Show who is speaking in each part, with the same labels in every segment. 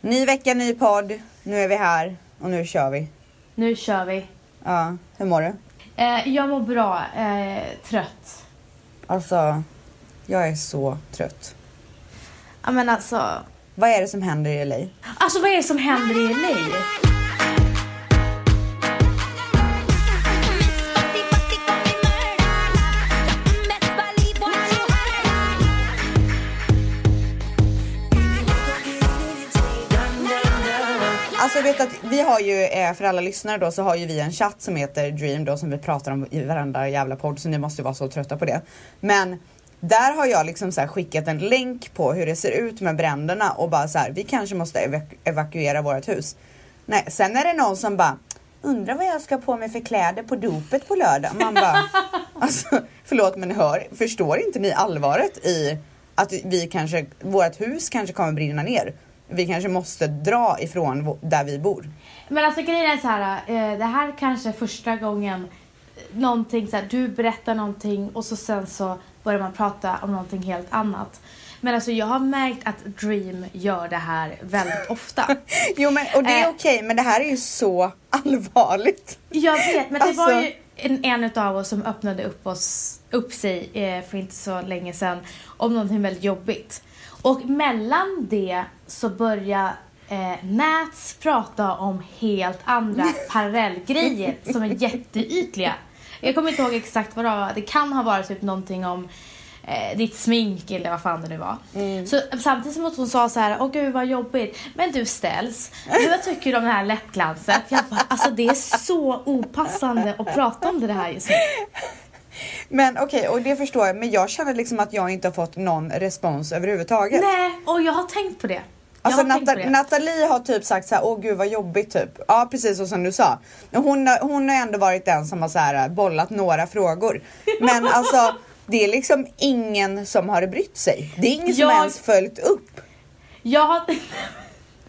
Speaker 1: Ny vecka, ny podd. Nu är vi här och nu kör vi.
Speaker 2: Nu kör vi.
Speaker 1: Ja, hur mår du?
Speaker 2: Eh, jag mår bra. Eh, trött.
Speaker 1: Alltså, jag är så trött.
Speaker 2: Ja men alltså.
Speaker 1: Vad är det som händer i LA?
Speaker 2: Alltså vad är det som händer i LA?
Speaker 1: Alltså jag vet att vi har ju, eh, för alla lyssnare då, så har ju vi en chatt som heter Dream då som vi pratar om i varenda jävla podd så ni måste ju vara så trötta på det. Men där har jag liksom så här skickat en länk på hur det ser ut med bränderna och bara så här, vi kanske måste evaku- evakuera vårt hus. Nej, sen är det någon som bara, undrar vad jag ska ha på mig för kläder på dopet på lördag. Man bara, alltså förlåt men hör, förstår inte ni allvaret i att vi kanske, vårt hus kanske kommer brinna ner. Vi kanske måste dra ifrån vå- där vi bor.
Speaker 2: Men alltså grejen är så här. Eh, det här kanske är första gången eh, någonting så här, du berättar någonting och så sen så börjar man prata om någonting helt annat. Men alltså jag har märkt att Dream gör det här väldigt ofta.
Speaker 1: Jo men och det är
Speaker 2: Eh.
Speaker 1: okej men det här är ju så allvarligt.
Speaker 2: Jag vet, men det
Speaker 1: Alltså-
Speaker 2: var ju en, en av oss som öppnade upp, oss, upp sig eh, för inte så länge sedan om någonting väldigt jobbigt. Och mellan det så börjar eh, Nats prata om helt andra parallellgrejer som är jätteytliga. Jag kommer inte ihåg exakt vad det var. Det kan ha varit typ någonting om eh, ditt smink eller vad fan det nu var.
Speaker 1: Mm.
Speaker 2: Så, samtidigt som att hon sa så här, åh gud vad jobbigt. Men du ställs, du vad tycker du om det här läppglanset? Jag bara, alltså det är så opassande att prata om det här just nu.
Speaker 1: Men okej och det förstår jag men jag känner liksom att jag inte har fått någon respons överhuvudtaget.
Speaker 2: Nej, och jag har tänkt på det. Jag
Speaker 1: Alltså
Speaker 2: har tänkt på
Speaker 1: Nata-
Speaker 2: det.
Speaker 1: Nathalie har typ sagt så här, åh gud vad jobbigt typ. Ja precis så som du sa. Men Hon, har- hon har ändå varit den som har så här, bollat några frågor. Men alltså det är liksom ingen som har brytt sig. Det är ingen som
Speaker 2: Jag-
Speaker 1: ens följt upp.
Speaker 2: Jag har...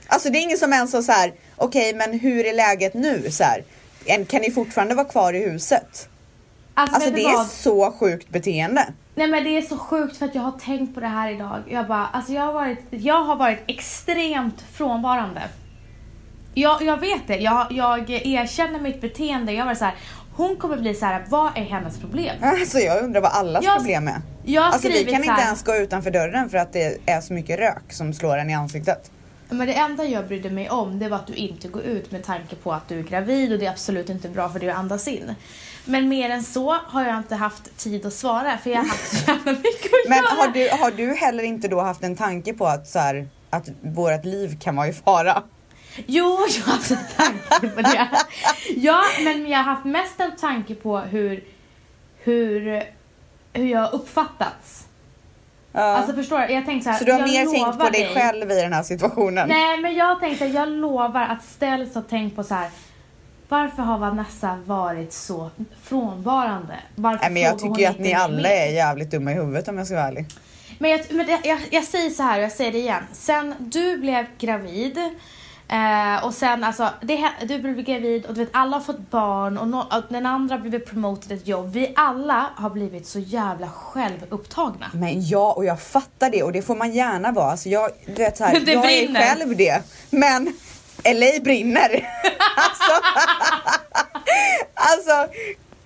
Speaker 1: Alltså det är ingen som ens har så här, okej men hur är läget nu? Så här, "En- kan ni fortfarande vara kvar i huset?
Speaker 2: Alltså,
Speaker 1: Alltså
Speaker 2: vet du
Speaker 1: det är
Speaker 2: vad?
Speaker 1: så sjukt beteende.
Speaker 2: Nej men det är så sjukt för att jag har tänkt på det här idag. Jag bara, alltså jag har varit, jag har varit extremt frånvarande. Jag, jag vet det, jag, jag erkänner mitt beteende. Jag var så här, hon kommer bli så här, vad är hennes problem?
Speaker 1: Alltså jag undrar vad allas
Speaker 2: Jag-
Speaker 1: problem är.
Speaker 2: Jag har
Speaker 1: Alltså vi
Speaker 2: skrivit
Speaker 1: kan
Speaker 2: så
Speaker 1: inte
Speaker 2: här,
Speaker 1: ens gå utanför dörren för att det är så mycket rök som slår en i ansiktet.
Speaker 2: men det enda jag brydde mig om det var att du inte går ut med tanke på att du är gravid och det är absolut inte bra för dig att andas in. Men mer än så har jag inte haft tid att svara för jag har haft så jävla mycket att
Speaker 1: Men
Speaker 2: göra.
Speaker 1: har du, har du heller inte då haft en tanke på att, så här, att vårt liv kan vara i fara?
Speaker 2: Jo, jag har haft en tanke på det. Ja, men jag har haft mest en tanke på hur, hur, hur jag har uppfattats.
Speaker 1: Ja.
Speaker 2: Alltså förstår du? Jag tänkte så här,
Speaker 1: så du har
Speaker 2: jag
Speaker 1: mer
Speaker 2: lovar
Speaker 1: tänkt på dig själv i den här situationen?
Speaker 2: Nej, men jag har tänkt så här, jag lovar att Ställs har tänkt på så här. Varför har Vanessa varit så frånvarande? Varför
Speaker 1: Nej, men jag
Speaker 2: frågar hon
Speaker 1: tycker ju att
Speaker 2: inte
Speaker 1: ni alla
Speaker 2: mer?
Speaker 1: är jävligt dumma i huvudet om jag ska vara ärlig.
Speaker 2: Men, jag, men det, jag, jag säger så här och jag säger det igen. Sen du blev gravid eh, och sen alltså, det, hä- du blev gravid och du vet alla har fått barn och, no, och den andra blev promoted ett jobb. Vi alla har blivit så jävla självupptagna.
Speaker 1: Men ja, och jag fattar det och det får man gärna vara. Alltså jag, du vet så här,
Speaker 2: Det
Speaker 1: jag
Speaker 2: brinner.
Speaker 1: är själv det. Men LA brinner. alltså, alltså,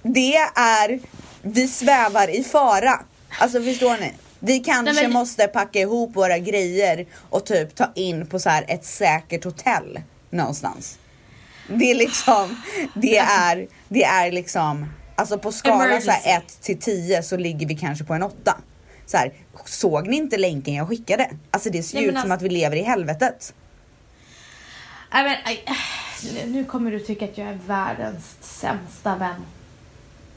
Speaker 1: det är, vi svävar i fara. Alltså förstår ni? Vi kanske
Speaker 2: Nej, men-
Speaker 1: måste packa ihop våra grejer och typ ta in på så här ett säkert hotell någonstans. Det är liksom, det
Speaker 2: Alltså-
Speaker 1: är, det är liksom, alltså på skala så
Speaker 2: Emergency.
Speaker 1: här 1 till 10 så ligger vi kanske på en 8. Så här, såg ni inte länken jag skickade? Alltså det ser
Speaker 2: Nej,
Speaker 1: ju
Speaker 2: men
Speaker 1: ut som
Speaker 2: alltså-
Speaker 1: att vi lever i helvetet.
Speaker 2: Nej, men, aj, eh, nu kommer du tycka att jag är världens sämsta vän.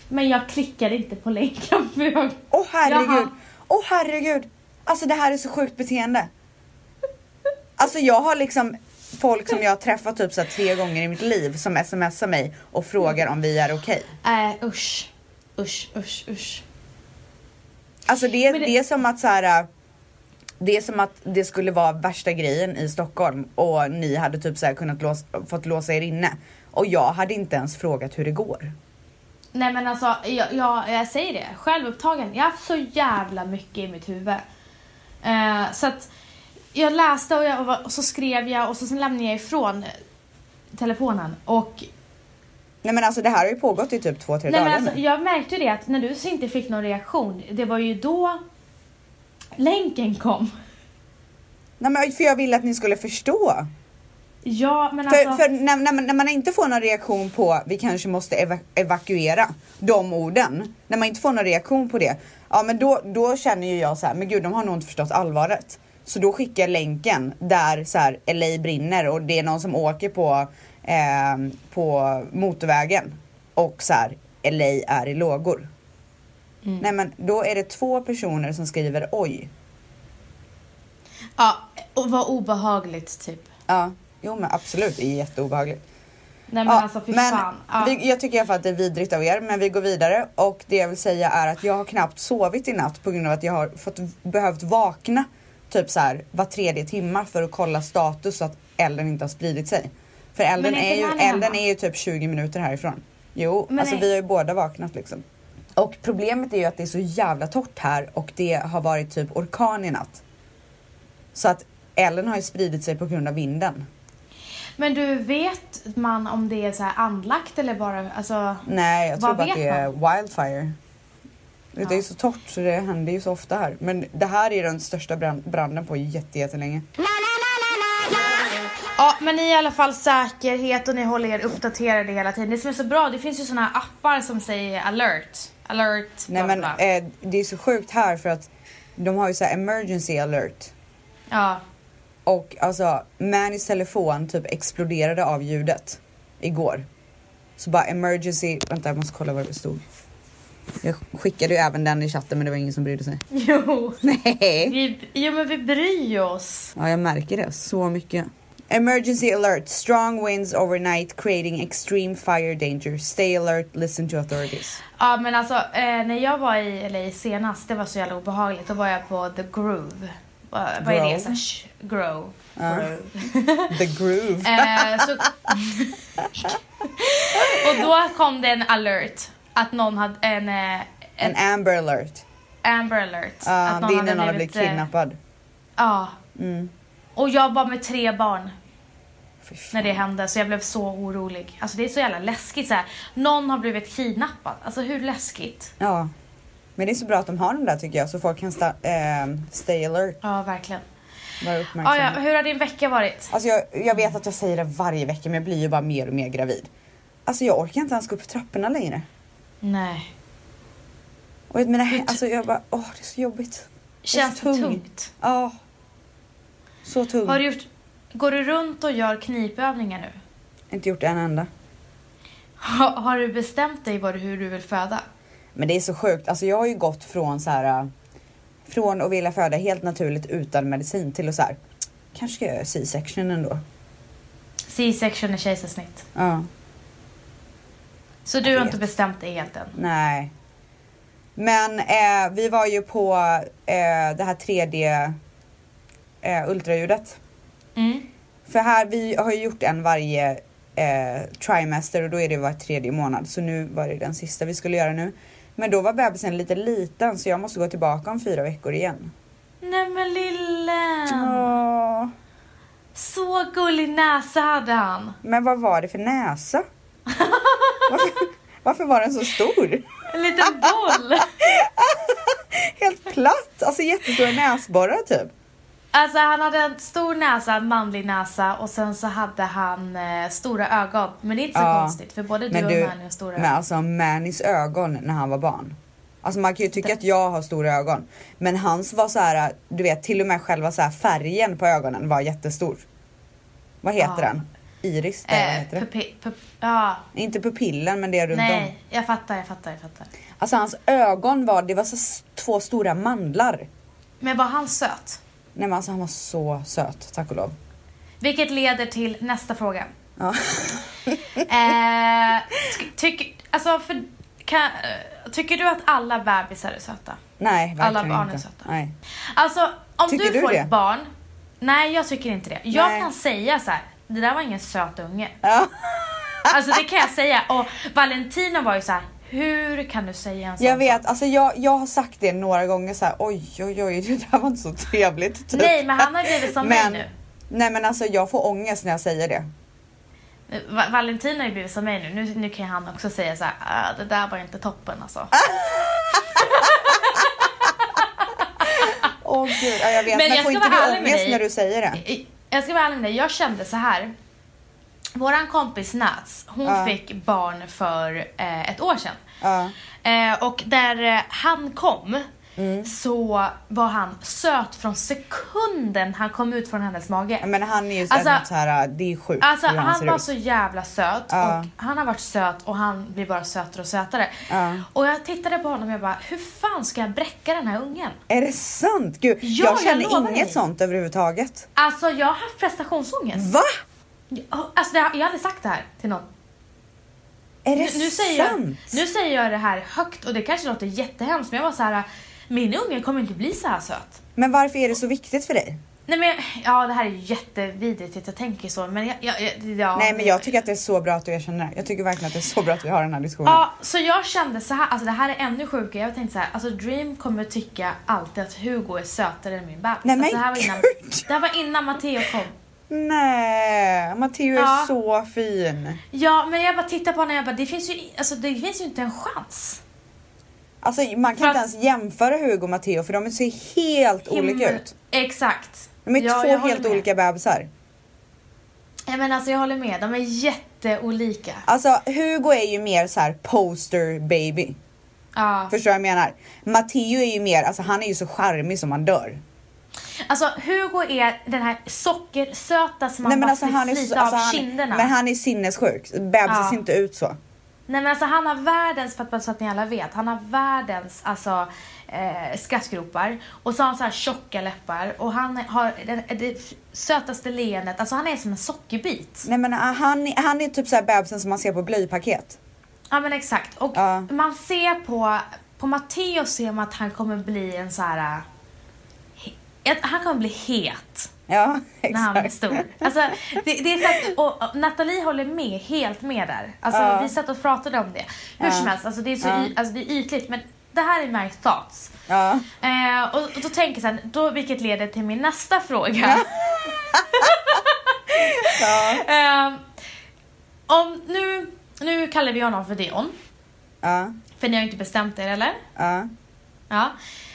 Speaker 2: Men jag klickar inte på länken för jag...
Speaker 1: Åh herregud!
Speaker 2: Jaha.
Speaker 1: Åh herregud! Alltså det här är så sjukt beteende. Alltså jag har liksom folk som jag har träffat typ så här tre gånger i mitt liv som smsar mig och frågar om vi är okej.
Speaker 2: Äh, usch. Usch, usch, usch.
Speaker 1: Alltså det, det...
Speaker 2: Men det-
Speaker 1: är som att så här. Det är som att det skulle vara värsta grejen i Stockholm och ni hade typ så här kunnat lås, fått låsa er inne. Och jag hade inte ens frågat hur det går.
Speaker 2: Nej men alltså, jag, jag, jag säger det. Självupptagen. Jag har haft så jävla mycket i mitt huvud. Eh, så att jag läste och, jag, var- och så skrev jag och så sen lämnade jag ifrån telefonen. Och
Speaker 1: Nej men alltså det här har ju pågått i typ två, tre
Speaker 2: Nej, men
Speaker 1: dagar
Speaker 2: alltså,
Speaker 1: nu.
Speaker 2: jag märkte det att när du så inte fick någon reaktion, det var ju då länken kom.
Speaker 1: Nej men för jag ville att ni skulle förstå.
Speaker 2: Ja, men
Speaker 1: För,
Speaker 2: alltså...
Speaker 1: för när, när, man, när man inte får någon reaktion på vi kanske måste eva evakuera de orden. När man inte får någon reaktion på det. Ja men då, då känner ju jag så här, men gud de har nog inte förstått allvaret. Så då skickar jag länken där så här LA brinner och det är någon som åker på, eh, på motorvägen. Och så här LA är i lågor.
Speaker 2: Mm.
Speaker 1: Nej men då är det två personer som skriver oj.
Speaker 2: Ja, och vad obehagligt typ.
Speaker 1: Ja, jo men absolut det är jätteobehagligt.
Speaker 2: Nej men
Speaker 1: Ja,
Speaker 2: alltså fy
Speaker 1: men
Speaker 2: fan. Ja.
Speaker 1: vi, jag tycker i alla fall att det är vidrigt av er, men vi går vidare och det jag vill säga är att jag har knappt sovit i natt på grund av att jag har fått, behövt vakna typ så här var tredje timma för att kolla status så att elden inte har spridit sig. För elden,
Speaker 2: är
Speaker 1: är,
Speaker 2: inte
Speaker 1: ju,
Speaker 2: Nanny
Speaker 1: elden
Speaker 2: hemma?
Speaker 1: är ju typ 20 minuter härifrån. Jo,
Speaker 2: Men
Speaker 1: alltså
Speaker 2: nej.
Speaker 1: vi har ju båda vaknat liksom. Och problemet är ju att det är så jävla torrt här och det har varit typ orkan i natt. Så att elden har ju spridit sig på grund av vinden.
Speaker 2: Men du, vet man om det är så här anlagt eller bara, alltså...
Speaker 1: Nej, jag
Speaker 2: Vad
Speaker 1: tror bara att
Speaker 2: vet
Speaker 1: det är wildfire. Det är
Speaker 2: Ja.
Speaker 1: ju så torrt så det händer ju så ofta här. Men det här är den största brand- branden på jätte- jättelänge.
Speaker 2: Ja, men ni är i alla fall säkerhet och ni håller er uppdaterade hela tiden. Det som är så bra, det finns ju såna här appar som säger alert, alert,
Speaker 1: Nej
Speaker 2: bla,
Speaker 1: men
Speaker 2: bla.
Speaker 1: eh, det är så sjukt här för att de har ju så här emergency alert.
Speaker 2: Ja.
Speaker 1: Och alltså Mannys telefon typ exploderade av ljudet igår. Så bara emergency, vänta jag måste kolla vad det stod. Jag skickade ju även den i chatten men det var ingen som brydde sig.
Speaker 2: Jo.
Speaker 1: Nej.
Speaker 2: Vi, jo men vi bryr oss.
Speaker 1: Ja, jag märker det så mycket. Emergency alert. Strong winds overnight creating extreme fire danger. Stay alert, listen to authorities.
Speaker 2: Ja men alltså eh, när jag var i LA senast, det var så jävla obehagligt, då var jag på The Groove. Vad, vad är
Speaker 1: Grove.
Speaker 2: det? Så här, sh- grove.
Speaker 1: Ja.
Speaker 2: Grove.
Speaker 1: The groove.
Speaker 2: Eh, så... Och då kom det en alert, att någon hade en, eh,
Speaker 1: En
Speaker 2: en
Speaker 1: amber alert.
Speaker 2: amber alert.
Speaker 1: Ja,
Speaker 2: att
Speaker 1: Ah, det är när någon har
Speaker 2: blivit,
Speaker 1: blivit
Speaker 2: eh,
Speaker 1: kidnappad.
Speaker 2: Ja.
Speaker 1: Mm.
Speaker 2: Och jag var med tre barn
Speaker 1: Fy fan.
Speaker 2: när det hände så jag blev så orolig. Alltså det är så jävla läskigt så här. någon har blivit kidnappad. Alltså hur läskigt?
Speaker 1: Ja. Men det är så bra att de har dem där tycker jag så folk kan sta- ehm, stay alert.
Speaker 2: Ja verkligen.
Speaker 1: Vara
Speaker 2: Ja,
Speaker 1: uppmärksamma.
Speaker 2: ja, hur har din vecka varit?
Speaker 1: Alltså jag, jag vet att jag säger det varje vecka men jag blir ju bara mer och mer gravid. Alltså jag orkar inte ens gå upp för trapporna längre.
Speaker 2: Nej.
Speaker 1: Och jag, menar, alltså jag bara, åh det är så jobbigt.
Speaker 2: Känns det
Speaker 1: tungt.
Speaker 2: tungt?
Speaker 1: Ja. Så tungt.
Speaker 2: Har du gjort, går du runt och gör knipövningar nu?
Speaker 1: Inte gjort en enda.
Speaker 2: Ha, har du bestämt dig vad, du- hur du vill föda?
Speaker 1: Men det är så sjukt. Alltså jag har ju gått från så här äh, från att vilja föda helt naturligt utan medicin till att så här kanske ska jag göra C-section ändå.
Speaker 2: C-section är kejsarsnitt.
Speaker 1: Ja,
Speaker 2: Så
Speaker 1: Jag
Speaker 2: du har
Speaker 1: vet.
Speaker 2: inte bestämt dig helt än?
Speaker 1: nej. Men eh, vi var ju på eh, det här 3D eh, ultraljudet.
Speaker 2: Mm.
Speaker 1: För här, vi har ju gjort en varje eh, trimester och då är det var tredje månad. Så nu var det den sista vi skulle göra nu. Men då var bebisen lite liten så jag måste gå tillbaka om fyra veckor igen.
Speaker 2: Nej men lillen!
Speaker 1: Åh.
Speaker 2: Så gullig näsa hade han.
Speaker 1: Men vad var det för näsa? Varför, varför var den så stor?
Speaker 2: En liten boll.
Speaker 1: Helt platt, alltså jättestora näsborrar typ.
Speaker 2: Alltså han hade en stor näsa, en manlig näsa och sen så hade han eh, stora ögon. Men det är inte så
Speaker 1: Ja.
Speaker 2: konstigt för både du
Speaker 1: Men
Speaker 2: och
Speaker 1: du-
Speaker 2: Manny har stora
Speaker 1: Men alltså Mannys ögon när han var barn. Alltså man kan ju tycka att jag har stora ögon. Men hans var så här, du vet till och med själva så här färgen på ögonen var jättestor. Vad heter
Speaker 2: Ja.
Speaker 1: den? Iris? Nej, vad
Speaker 2: Eh,
Speaker 1: heter det?
Speaker 2: pupi- pup- ja,
Speaker 1: Inte pupillen men det runt om.
Speaker 2: nej, jag fattar, jag fattar, jag fattar.
Speaker 1: Alltså hans ögon var, det var så s- två stora mandlar.
Speaker 2: Men var han söt?
Speaker 1: Nej men alltså han var så söt, tack och lov.
Speaker 2: Vilket leder till nästa fråga.
Speaker 1: Ja.
Speaker 2: Eh, sk- tyck, alltså för, kan, eh, tycker du att alla bebisar är söta?
Speaker 1: Nej, verkligen
Speaker 2: Alla barn är
Speaker 1: inte.
Speaker 2: söta.
Speaker 1: Nej.
Speaker 2: Alltså om
Speaker 1: Tycker
Speaker 2: du,
Speaker 1: du
Speaker 2: får
Speaker 1: det?
Speaker 2: ett barn. Nej, jag tycker inte det. Jag
Speaker 1: Nej.
Speaker 2: kan säga så här. Det där var ingen söt unge.
Speaker 1: Ja.
Speaker 2: Alltså det kan jag säga. Och Valentino var ju så här. Hur kan du säga en sån
Speaker 1: Jag vet,
Speaker 2: sak?
Speaker 1: alltså jag, jag har sagt det några gånger så här, oj oj oj det där var inte så trevligt. typ.
Speaker 2: Nej, men han har blivit som
Speaker 1: Men-
Speaker 2: mig
Speaker 1: Nej men alltså jag får ångest när jag säger det.
Speaker 2: nu. Va- Valentin har ju blivit som mig nu. Nu, nu kan ju han också säga så här, "Ah, det där var inte toppen alltså.
Speaker 1: Ah! Åh gud, ja, jag vet.
Speaker 2: Men
Speaker 1: Men,
Speaker 2: jag
Speaker 1: får
Speaker 2: ska
Speaker 1: inte
Speaker 2: vara
Speaker 1: du
Speaker 2: ärlig med
Speaker 1: ångest
Speaker 2: dig.
Speaker 1: när du säger det?
Speaker 2: I- Jag ska vara ärlig med dig, jag kände så här. Våran kompis Nats, hon
Speaker 1: Ja.
Speaker 2: fick barn för eh, ett år sedan.
Speaker 1: Ja.
Speaker 2: Eh, och där eh, han kom
Speaker 1: Mm.
Speaker 2: så var han söt från sekunden han kom ut från hennes mage.
Speaker 1: Men han är ju
Speaker 2: Alltså-
Speaker 1: alltså, så här, äh, det är sjukt
Speaker 2: Alltså
Speaker 1: hur
Speaker 2: han,
Speaker 1: han, ser
Speaker 2: var
Speaker 1: ut.
Speaker 2: så jävla söt
Speaker 1: Ja.
Speaker 2: och han har varit söt och han blir bara sötare och sötare.
Speaker 1: Ja.
Speaker 2: Och jag tittade på honom och jag bara, hur fan ska jag bräcka den här ungen?
Speaker 1: Är det sant? Gud,
Speaker 2: Ja,
Speaker 1: jag
Speaker 2: jag
Speaker 1: känner
Speaker 2: lovar
Speaker 1: inget
Speaker 2: dig.
Speaker 1: sånt överhuvudtaget.
Speaker 2: Alltså jag har haft prestationsångest.
Speaker 1: Va? Mm.
Speaker 2: Alltså det, jag hade sagt det här till någon.
Speaker 1: Är det
Speaker 2: Nu, nu, säger jag,
Speaker 1: sant?
Speaker 2: nu säger jag det här högt och det kanske låter jättehemskt men jag var så här, min unge kommer inte bli så här söt.
Speaker 1: Men varför är det så viktigt för dig?
Speaker 2: Nej men ja det här är ju jättevidrigt att jag tänker så men jag, jag, jag, ja.
Speaker 1: Nej men jag tycker att det är så bra att du erkänner det. Jag tycker verkligen att det är så bra att vi har den här diskussionen.
Speaker 2: Ja, så jag kände så här, alltså det här är ännu sjukare. Jag tänkte så här, alltså Dream kommer tycka alltid att Hugo är sötare än min bebis.
Speaker 1: Nej,
Speaker 2: alltså,
Speaker 1: men
Speaker 2: det, här var innan,
Speaker 1: gud!
Speaker 2: det här var innan Matteo kom.
Speaker 1: Nej, Matteo är
Speaker 2: Ja.
Speaker 1: så fin.
Speaker 2: Ja, men jag bara tittar på honom och jag bara, det finns ju, alltså, det finns ju inte en chans.
Speaker 1: Alltså man
Speaker 2: För
Speaker 1: kan inte
Speaker 2: att-
Speaker 1: ens jämföra Hugo och Matteo för de ser helt olika
Speaker 2: Himmel-
Speaker 1: ut.
Speaker 2: Exakt.
Speaker 1: De är
Speaker 2: Ja, jag
Speaker 1: två
Speaker 2: håller
Speaker 1: helt
Speaker 2: med.
Speaker 1: olika bebisar.
Speaker 2: Ja, men alltså jag håller med, de är jätteolika.
Speaker 1: Alltså Hugo är ju mer så här poster baby.
Speaker 2: Ja.
Speaker 1: Förstår vad jag menar? Matteo är ju mer, alltså han är ju så charmig som man dör.
Speaker 2: Alltså Hugo är den här sockersöta som man
Speaker 1: Nej men
Speaker 2: bara
Speaker 1: alltså
Speaker 2: vill
Speaker 1: han är så,
Speaker 2: slita
Speaker 1: alltså,
Speaker 2: av
Speaker 1: han,
Speaker 2: kinderna.
Speaker 1: men han är sinnessjuk. Bebisar
Speaker 2: Ja.
Speaker 1: ser inte ut så.
Speaker 2: Nej men alltså han har världens, för att, bara så att ni alla vet, han har världens alltså, eh, skrattgropar och så har han så här tjocka läppar och han har den, det sötaste leendet, alltså han är som en sockerbit.
Speaker 1: Nej men ah, han, han är typ så här bebisen som man ser på blöjpaket.
Speaker 2: Ja men exakt. Och
Speaker 1: Ja.
Speaker 2: man ser på, på Matteo ser man att han kommer bli en så här... eh, he- att Han kommer bli het
Speaker 1: Ja
Speaker 2: när han blir
Speaker 1: exakt.
Speaker 2: stor. Alltså, det, det är så att, och, och Nathalie håller med, helt med där. Alltså,
Speaker 1: Ja.
Speaker 2: Vi satt och pratade om det. Hur
Speaker 1: Ja.
Speaker 2: som helst, alltså, det, är så
Speaker 1: Ja.
Speaker 2: y, alltså, det är ytligt men det här är my thoughts.
Speaker 1: Ja.
Speaker 2: Eh, och, och då tänker jag sen, då, vilket leder till min nästa fråga.
Speaker 1: Ja.
Speaker 2: eh, om nu, nu kallar vi honom för Dion,
Speaker 1: Ja.
Speaker 2: för ni har ju inte bestämt er eller?
Speaker 1: Ja.
Speaker 2: Ja.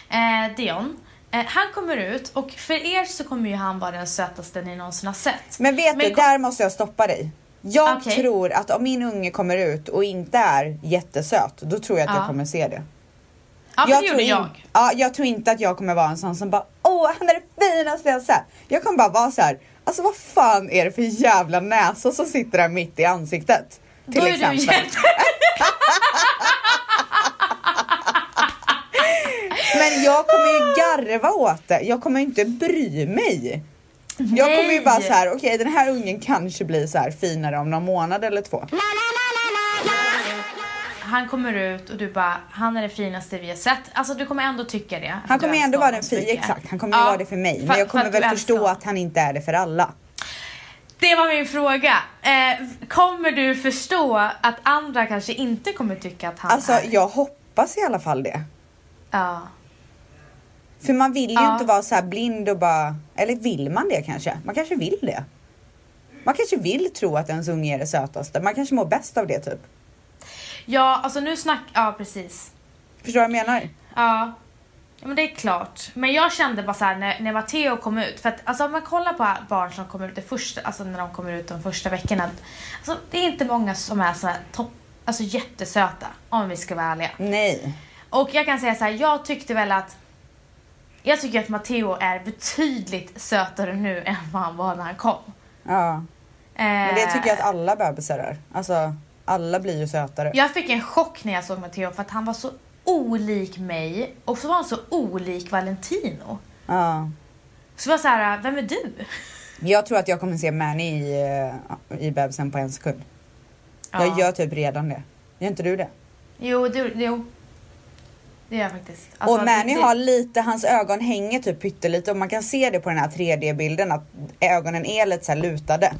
Speaker 2: Eh, Dion. Eh, han kommer ut och för er så kommer ju han vara den sötaste ni någonsin har sett.
Speaker 1: Men vet
Speaker 2: Men
Speaker 1: du,
Speaker 2: kom-
Speaker 1: där måste jag stoppa dig. Jag
Speaker 2: Okej.
Speaker 1: tror att om min unge kommer ut och inte är jättesöt, då tror jag att jag
Speaker 2: Ja.
Speaker 1: kommer se det.
Speaker 2: ja, för det
Speaker 1: tror
Speaker 2: gjorde
Speaker 1: in-
Speaker 2: jag.
Speaker 1: Ja, jag tror inte att jag kommer vara en sån som bara åh han är det finaste jag sett. Jag kommer bara vara så här. alltså vad fan är det för jävla näsa som sitter där mitt i ansiktet? Till
Speaker 2: Då är
Speaker 1: exempel.
Speaker 2: du jätte...
Speaker 1: Men jag kommer ju garva åt det. Jag kommer ju inte bry mig. Jag kommer ju
Speaker 2: Nej.
Speaker 1: bara så här, okej den här ungen kanske blir så här finare om någon månad eller två.
Speaker 2: Han kommer ut och du bara, han är det finaste vi har sett. Alltså du kommer ändå tycka det.
Speaker 1: Han kommer ju
Speaker 2: alltså,
Speaker 1: ändå vara den
Speaker 2: fina
Speaker 1: fina, exakt. Han kommer ju vara det för mig. Men jag kommer väl förstå att han inte är det för alla.
Speaker 2: Det var min fråga. Eh, kommer du förstå att andra kanske inte kommer tycka att han
Speaker 1: Alltså
Speaker 2: är...
Speaker 1: jag hoppas i alla fall det.
Speaker 2: Ja.
Speaker 1: För man vill ju
Speaker 2: Ja.
Speaker 1: inte vara så här blind och bara, eller vill man det kanske? Man kanske vill det. Man kanske vill tro att ens unge är det sötaste. Man kanske mår bäst av det typ.
Speaker 2: ja, alltså nu snack... Ja, precis.
Speaker 1: Förstår du vad jag menar?
Speaker 2: Ja. Ja, Men det är klart. Men jag kände bara såhär när, när Matteo kom ut, för att alltså, om man kollar på barn som kommer ut det första, alltså när de kommer ut de första veckorna. Alltså det är inte många som är såhär topp, alltså jättesöta om vi ska vara ärliga.
Speaker 1: Nej.
Speaker 2: Och jag kan säga så här, jag tyckte väl att jag tycker att Matteo är betydligt sötare nu än vad han var när han kom.
Speaker 1: Ja. Men det tycker jag att
Speaker 2: Eh,
Speaker 1: alla bebisar är. Alltså alla blir ju sötare.
Speaker 2: jag fick en chock när jag såg Matteo för att han var så olik mig och så var han så olik Valentino.
Speaker 1: Ja.
Speaker 2: Så jag var så här, vem är du?
Speaker 1: Jag tror att jag kommer se Manny i, eh, i bebisen på en sekund. Jag gör typ redan det. Gör inte du det?
Speaker 2: Jo, du, jo. Det gör jag faktiskt. Alltså,
Speaker 1: och Manny
Speaker 2: det-
Speaker 1: har lite, hans ögon hänger typ pyttelite och man kan se det på den här 3D-bilden att ögonen är lite så här lutade.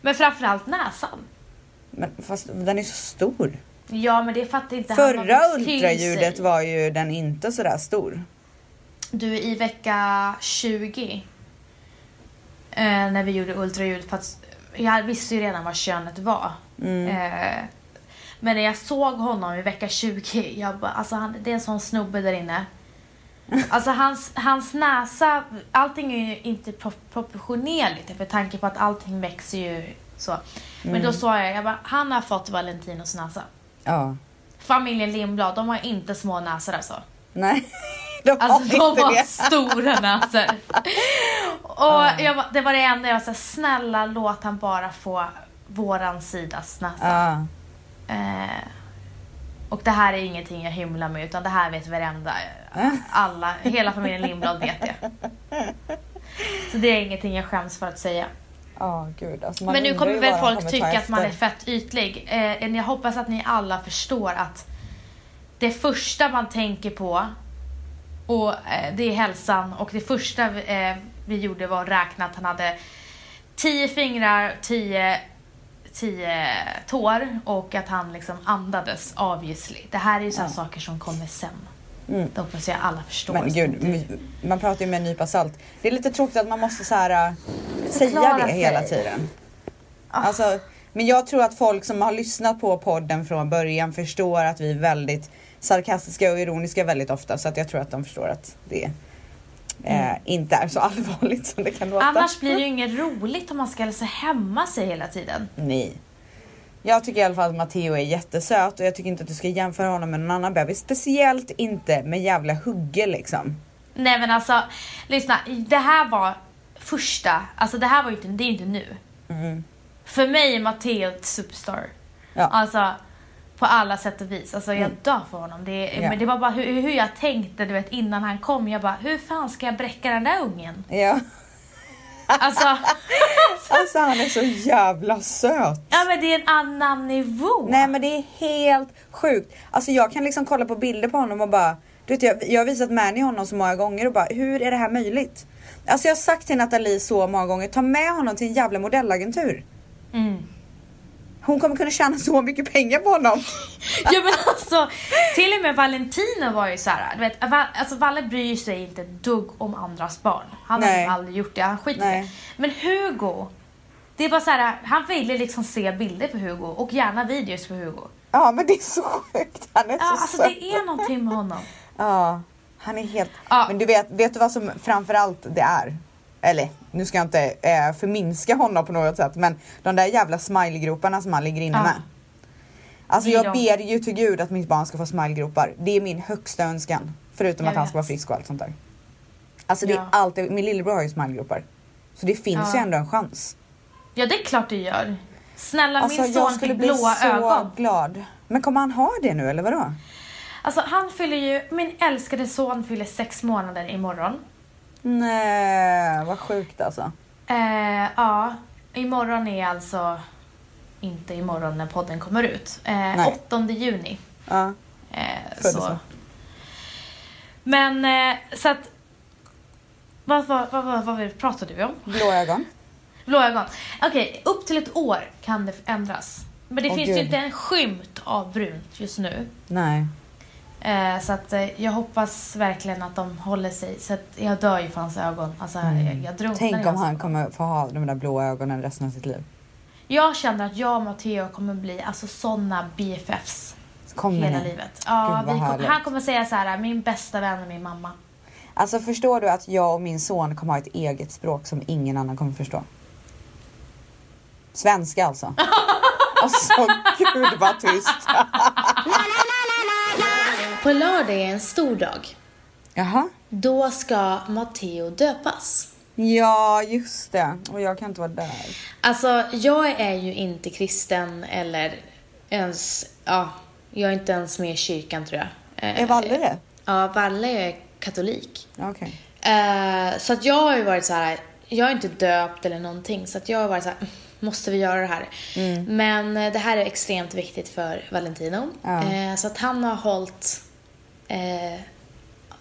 Speaker 2: Men framförallt näsan.
Speaker 1: Men fast den är så stor.
Speaker 2: Ja men det fattar inte han.
Speaker 1: Förra
Speaker 2: vad det till
Speaker 1: ultraljudet
Speaker 2: sig.
Speaker 1: var ju den inte sådär stor.
Speaker 2: Du är i vecka 20. Eh, när vi gjorde ultraljud. För att, jag visste ju redan vad könet var. Eh, men när jag såg honom i vecka 20. Jag bara, alltså han, det är en sån snubbe där inne. Alltså hans, hans näsa, allting är ju inte pro- proportionerligt med tanke på att allting växer ju så. Men då sa jag, jag bara, han har fått Valentinos näsa.
Speaker 1: Ja.
Speaker 2: Familjen Lindblad, de har inte små näsor alltså.
Speaker 1: Nej, de
Speaker 2: Alltså
Speaker 1: har inte
Speaker 2: de har
Speaker 1: det. Ah.
Speaker 2: stora näsor. Och jag, var- det var det enda jag var såhär, snälla låt han bara få våran sidas näsa.
Speaker 1: Ja.
Speaker 2: Eh, och det här är ingenting jag hymlar med utan det här vet varenda. Alla, hela familjen Lindblad vet det. Så det är ingenting jag skäms för att säga.
Speaker 1: Ja, gud. Alltså, man
Speaker 2: Men nu
Speaker 1: undrar
Speaker 2: kommer
Speaker 1: ju
Speaker 2: väl
Speaker 1: vad de
Speaker 2: folk
Speaker 1: kommer ta
Speaker 2: tycka att man är
Speaker 1: efter.
Speaker 2: fett ytlig. Eh, jag hoppas att ni alla förstår att det första man tänker på och eh, det är hälsan och det första eh, vi gjorde var att räkna att han hade tio fingrar, tio, tio tår och att han liksom andades obviously. Det här är ju sådana saker som kommer sen. Det hoppas jag alla förstår.
Speaker 1: Mm. Men gud, my- man pratar ju med en nypa salt. Det är lite tråkigt att man måste så här, äh, säga
Speaker 2: Förklara
Speaker 1: det hela
Speaker 2: sig. Ah.
Speaker 1: tiden. Alltså, men jag tror att folk som har lyssnat på podden från början förstår att vi är väldigt sarkastiska och ironiska väldigt ofta. Så att jag tror att de förstår att det eh, inte är så allvarligt som det kan låta.
Speaker 2: Mm. Annars blir det ju inget roligt om man ska alltså hämma sig hela tiden.
Speaker 1: Nej. Jag tycker i alla fall att Matteo är jättesöt och jag tycker inte att du ska jämföra honom med någon annan bebis. Speciellt inte med jävla Hugge liksom.
Speaker 2: Nej men alltså, lyssna. Det här var första, alltså det här var ju inte, det är ju inte nu. Mm. För mig är Matteo ett superstar.
Speaker 1: Ja. Mm.
Speaker 2: Alltså på alla sätt och vis. Alltså jag dör för honom. Det,
Speaker 1: Ja.
Speaker 2: Men det var bara hur, hur jag tänkte du vet innan han kom. Jag bara, hur fan ska jag bräcka den där ungen?
Speaker 1: Ja.
Speaker 2: Alltså,
Speaker 1: Alltså han är så jävla söt.
Speaker 2: ja men det är en annan nivå.
Speaker 1: Nej men det är helt sjukt. Alltså jag kan liksom kolla på bilder på honom och bara du vet, jag, jag har visat Mani honom så många gånger och bara hur är det här möjligt? Alltså jag har sagt till Nathalie så många gånger, ta med honom till en jävla modellagentur.
Speaker 2: Mm.
Speaker 1: Hon kommer kunna tjäna så mycket pengar på honom.
Speaker 2: Ja men alltså, till och med Valentino var ju såhär, du vet, Va- alltså Valle bryr sig inte ett dugg om andras barn. Han har
Speaker 1: Nej.
Speaker 2: typ aldrig gjort det, han skiter i det.
Speaker 1: Nej.
Speaker 2: Men Hugo, det var såhär, han ville liksom se bilder på Hugo och gärna videos på Hugo.
Speaker 1: Ja men det är så sjukt, han är
Speaker 2: Ja,
Speaker 1: så
Speaker 2: alltså
Speaker 1: söt.
Speaker 2: det är någonting med honom.
Speaker 1: Ja, han är helt...
Speaker 2: Ja.
Speaker 1: Men du vet, vet du vad som framförallt det är? Eller, nu ska jag inte eh, förminska honom på något sätt, men de där jävla smilegroparna som han ligger inne
Speaker 2: Ja.
Speaker 1: med. Alltså
Speaker 2: Det är
Speaker 1: jag
Speaker 2: de.
Speaker 1: ber ju till gud att mitt barn ska få smilegropar. Det är min högsta önskan. Förutom
Speaker 2: Jag
Speaker 1: att han
Speaker 2: vet.
Speaker 1: ska vara frisk och allt sånt där. Alltså det är
Speaker 2: Ja.
Speaker 1: alltid, min lillebror har ju smilegropar. Så det finns
Speaker 2: Ja.
Speaker 1: ju ändå en chans.
Speaker 2: Ja det är klart det gör. Snälla
Speaker 1: Alltså
Speaker 2: min son
Speaker 1: jag skulle
Speaker 2: fick
Speaker 1: bli
Speaker 2: blåa
Speaker 1: så
Speaker 2: ögon.
Speaker 1: glad. Men kommer han ha det nu eller vadå?
Speaker 2: Alltså han fyller ju, min älskade son fyller sex månader imorgon.
Speaker 1: Nej, vad sjukt alltså.
Speaker 2: Eh, ja, imorgon är alltså inte imorgon när podden kommer ut. Eh,
Speaker 1: Nej.
Speaker 2: 8 juni.
Speaker 1: Ja.
Speaker 2: Eh,
Speaker 1: Födelsedag.
Speaker 2: så. Men eh, så att... Vad, vad, vad, vad, vad pratade vi om?
Speaker 1: Blå ögon.
Speaker 2: Blå ögon. Okej, upp till ett år kan det ändras. Men det
Speaker 1: Åh,
Speaker 2: finns ju
Speaker 1: gud.
Speaker 2: inte en skymt av brunt just nu.
Speaker 1: Nej.
Speaker 2: Eh, så att eh, jag hoppas verkligen att de håller sig. Så att jag dör ju för hans ögon. Alltså, jag, jag drunknar alltså. i
Speaker 1: Mm. Tänk om
Speaker 2: hans
Speaker 1: han kommer få ha de där blå ögonen resten av sitt liv.
Speaker 2: Jag känner att jag och Matteo kommer bli alltså såna BFFs
Speaker 1: Så kommer
Speaker 2: hela
Speaker 1: ni.
Speaker 2: livet. Ja,
Speaker 1: Mm. Gud, vad
Speaker 2: vi kom,
Speaker 1: härligt.
Speaker 2: han kommer säga så här, min bästa vän är min mamma.
Speaker 1: Alltså förstår du att jag och min son kommer ha ett eget språk som ingen annan kommer förstå? Svenska alltså. Alltså gud vad tyst.
Speaker 2: På lördag är en stor dag.
Speaker 1: Jaha.
Speaker 2: Då ska Matteo döpas.
Speaker 1: Ja just det. Och jag kan inte vara där.
Speaker 2: Alltså, jag är ju inte kristen eller ens, ja, jag är inte ens med i kyrkan tror jag. Eh,
Speaker 1: Är Valle det?
Speaker 2: Ja, Valle är katolik.
Speaker 1: Okej.
Speaker 2: Eh, så att jag har ju varit så här, jag är inte döpt eller någonting så att jag har varit så här, "Mm, måste vi göra det här?
Speaker 1: Mm.
Speaker 2: Men eh, det här är extremt viktigt för Valentino.
Speaker 1: Ja.
Speaker 2: Eh, så att han har hållit eh,